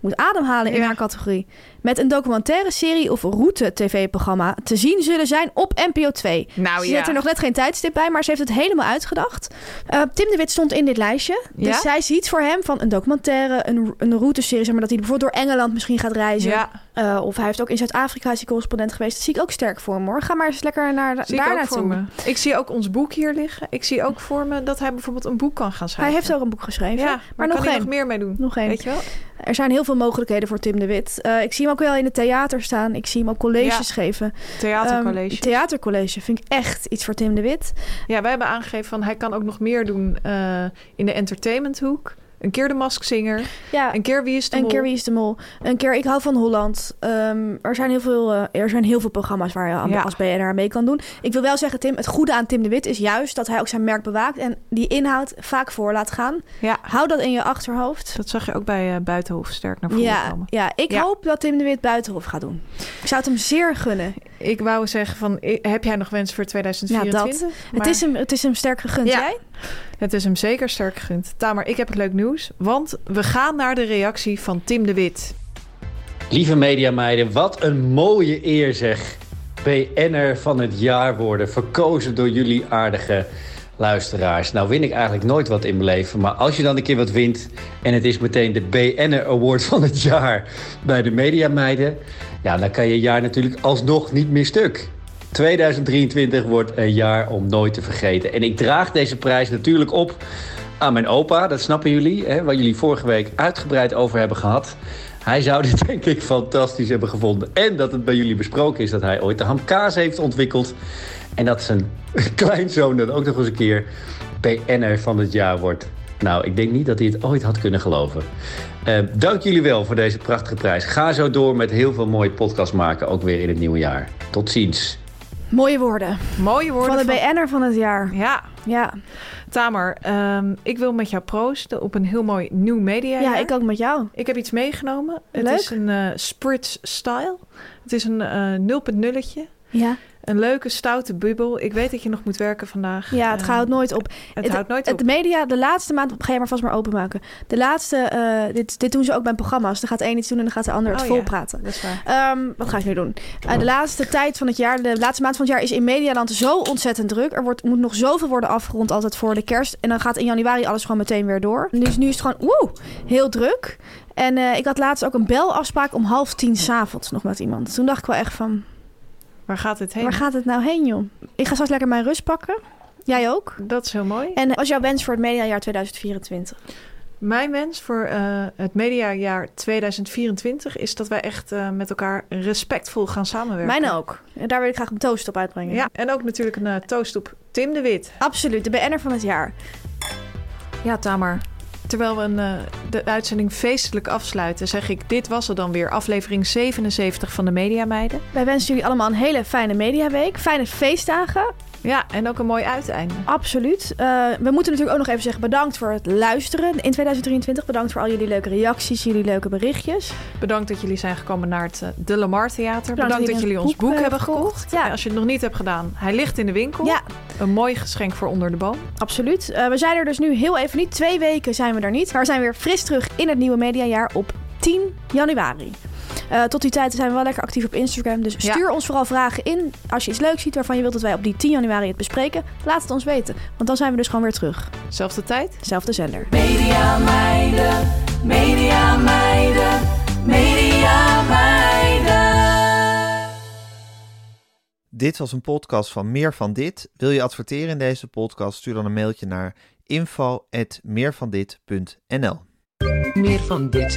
Speaker 2: moet ademhalen in
Speaker 1: Ja.
Speaker 2: haar categorie. Met een documentaire serie of route-tv-programma te zien zullen zijn op NPO 2.
Speaker 1: Nou
Speaker 2: ze zet er nog net geen tijdstip bij, maar ze heeft het helemaal uitgedacht. Eh, Tim de Wit stond in dit lijstje. Dus
Speaker 1: Ja?
Speaker 2: zij ziet voor hem van een documentaire, een, een routeserie... Zeg maar, dat hij bijvoorbeeld door Engeland misschien gaat reizen.
Speaker 1: ja,
Speaker 2: Eh, of hij heeft ook in Zuid-Afrika is hij correspondent geweest. Dat zie ik ook sterk voor hem hoor. Ga maar eens lekker naar,
Speaker 1: zie ik
Speaker 2: daar
Speaker 1: ook
Speaker 2: naartoe.
Speaker 1: voor me. Ik zie ook ons boek hier liggen. Ik zie ook voor me dat hij bijvoorbeeld een boek kan gaan
Speaker 2: Hij
Speaker 1: schrijven.
Speaker 2: heeft ook een boek geschreven.
Speaker 1: ja, maar,
Speaker 2: nog
Speaker 1: kan hij
Speaker 2: één.
Speaker 1: nog meer mee doen?
Speaker 2: Nog één.
Speaker 1: Weet je wel?
Speaker 2: Er zijn heel veel mogelijkheden voor Tim de Wit. Eh, ik zie hem ook wel in het theater staan. Ik zie hem ook colleges geven.
Speaker 1: Theatercollege.
Speaker 2: Ehm, theatercollege vind ik echt iets voor Tim de Wit.
Speaker 1: Ja, wij hebben aangegeven van hij kan ook nog meer doen eh, in de entertainmenthoek. Een keer de maskzinger,
Speaker 2: Ja,
Speaker 1: een keer wie is de
Speaker 2: een
Speaker 1: Mol.
Speaker 2: keer Wie is de Mol. Een keer Ik hou van Holland. Ehm, er, zijn heel veel, eh, er zijn heel veel programma's waar je aan,
Speaker 1: Ja.
Speaker 2: als BNR aan mee kan doen. Ik wil wel zeggen, Tim, het goede aan Tim de Wit is juist dat hij ook zijn merk bewaakt. En die inhoud vaak voor laat gaan.
Speaker 1: Ja,
Speaker 2: Hou dat in je achterhoofd.
Speaker 1: dat zag je ook bij eh, Buitenhof sterk naar voren
Speaker 2: Ja,
Speaker 1: komen.
Speaker 2: ja, ik
Speaker 1: Ja.
Speaker 2: hoop dat Tim de Wit Buitenhof gaat doen. Ik zou het hem zeer gunnen.
Speaker 1: Ik wou zeggen van, i- heb jij nog wensen voor 2024?
Speaker 2: Het,
Speaker 1: Maar
Speaker 2: is hem, het is hem sterk gegund.
Speaker 1: Ja.
Speaker 2: Jij?
Speaker 1: het is hem zeker sterk gegund. Tamer, ik heb het leuk nieuws, want we gaan naar de reactie van Tim de Wit.
Speaker 4: Lieve mediameiden, wat een mooie eer zeg. BN'er van het jaar worden, verkozen door jullie aardige luisteraars. Nou win ik eigenlijk nooit wat in mijn leven, maar als je dan een keer wat wint... en het is meteen de BN'er Award van het jaar bij de mediameiden... ja, dan kan je jaar natuurlijk alsnog niet meer stuk. 2023 wordt een jaar om nooit te vergeten. En ik draag deze prijs natuurlijk op aan mijn opa, dat snappen jullie, hè, waar jullie vorige week uitgebreid over hebben gehad. Hij zou dit denk ik fantastisch hebben gevonden. En dat het bij jullie besproken is dat hij ooit de hamkaas heeft ontwikkeld. En dat zijn kleinzoon dan ook nog eens een keer BN'er van het jaar wordt. Nou, ik denk niet dat hij het ooit had kunnen geloven. Eh, dank jullie wel voor deze prachtige prijs. Ga zo door met heel veel mooie podcast maken, ook weer in het nieuwe jaar. Tot ziens.
Speaker 2: Mooie woorden.
Speaker 1: Mooie woorden
Speaker 2: Van de
Speaker 1: van...
Speaker 2: BN'er van het jaar.
Speaker 1: Ja,
Speaker 2: Ja.
Speaker 1: Tamer, ehm, ik wil met jou proosten op een heel mooi nieuw media.
Speaker 2: ja, ik ook met jou.
Speaker 1: Ik heb iets meegenomen.
Speaker 2: Leuk.
Speaker 1: Het is een eh Spritz Style. Het is een eh 0.0'tje.
Speaker 2: Ja,
Speaker 1: Een leuke, stoute bubbel. Ik weet dat je nog moet werken vandaag.
Speaker 2: ja het
Speaker 1: Eh,
Speaker 2: houdt nooit op.
Speaker 1: het houdt nooit
Speaker 2: het
Speaker 1: op.
Speaker 2: media, de laatste maand, ga je maar vast maar openmaken. De laatste, eh, dit, dit doen ze ook bij programma's. Dan gaat de een iets doen en dan gaat de ander het
Speaker 1: Oh, ja.
Speaker 2: volpraten.
Speaker 1: Dat is waar.
Speaker 2: Ehm, wat ga ik nu doen? Eh, de laatste tijd van het jaar, de laatste maand van het jaar is in Medialand zo ontzettend druk. Er wordt, moet nog zoveel worden afgerond altijd voor de kerst. En dan gaat in januari alles gewoon meteen weer door. Dus nu is het gewoon woe, heel druk. En eh, ik had laatst ook een belafspraak om half tien s'avonds nog met iemand. Toen dacht ik wel echt van,
Speaker 1: Waar gaat dit heen?
Speaker 2: waar gaat het nou heen joh? Ik ga straks lekker mijn rust pakken. Jij ook?
Speaker 1: Dat is heel mooi.
Speaker 2: En eh, wat is jouw wens voor het mediajaar 2024?
Speaker 1: Mijn wens voor eh, het mediajaar 2024 is dat wij echt eh, met elkaar respectvol gaan samenwerken.
Speaker 2: Mijn ook. En daar wil ik graag een toast op uitbrengen.
Speaker 1: Ja, en ook natuurlijk een eh, toast op Tim de Wit.
Speaker 2: Absoluut, de BN'er van het jaar.
Speaker 1: Ja, Tamer. Terwijl we een, eh, de uitzending feestelijk afsluiten, zeg ik: dit was er dan weer, aflevering 77 van de Media Meiden.
Speaker 2: Wij wensen jullie allemaal een hele fijne mediaweek. Fijne feestdagen.
Speaker 1: Ja, en ook een mooi uiteinde.
Speaker 2: Absoluut. Eh, we moeten natuurlijk ook nog even zeggen bedankt voor het luisteren in 2023. Bedankt voor al jullie leuke reacties, jullie leuke berichtjes.
Speaker 1: Bedankt dat jullie zijn gekomen naar het eh, De Lamar Theater. Bedankt,
Speaker 2: jullie
Speaker 1: dat jullie
Speaker 2: het
Speaker 1: ons boek,
Speaker 2: eh,
Speaker 1: hebben gekocht.
Speaker 2: Ja.
Speaker 1: En als je het nog niet hebt gedaan, hij ligt in de winkel.
Speaker 2: Ja,
Speaker 1: Een mooi geschenk voor onder de boom.
Speaker 2: absoluut. Eh, we zijn er dus nu heel even niet. Twee weken zijn we er niet. Maar we zijn weer fris terug in het nieuwe mediajaar op 10 januari. Eh, tot die tijd zijn we wel lekker actief op Instagram. Dus
Speaker 1: Ja.
Speaker 2: stuur ons vooral vragen in. Als je iets leuks ziet waarvan je wilt dat wij op die 10 januari het bespreken, laat het ons weten. Want dan zijn we dus gewoon weer terug.
Speaker 1: Zelfde tijd.
Speaker 2: Zelfde zender.
Speaker 3: Media meiden, media meiden, media meiden.
Speaker 5: Dit was een podcast van Meer van Dit. Wil je adverteren in deze podcast? Stuur dan een mailtje naar info.meervandit.nl
Speaker 6: Meer van dit.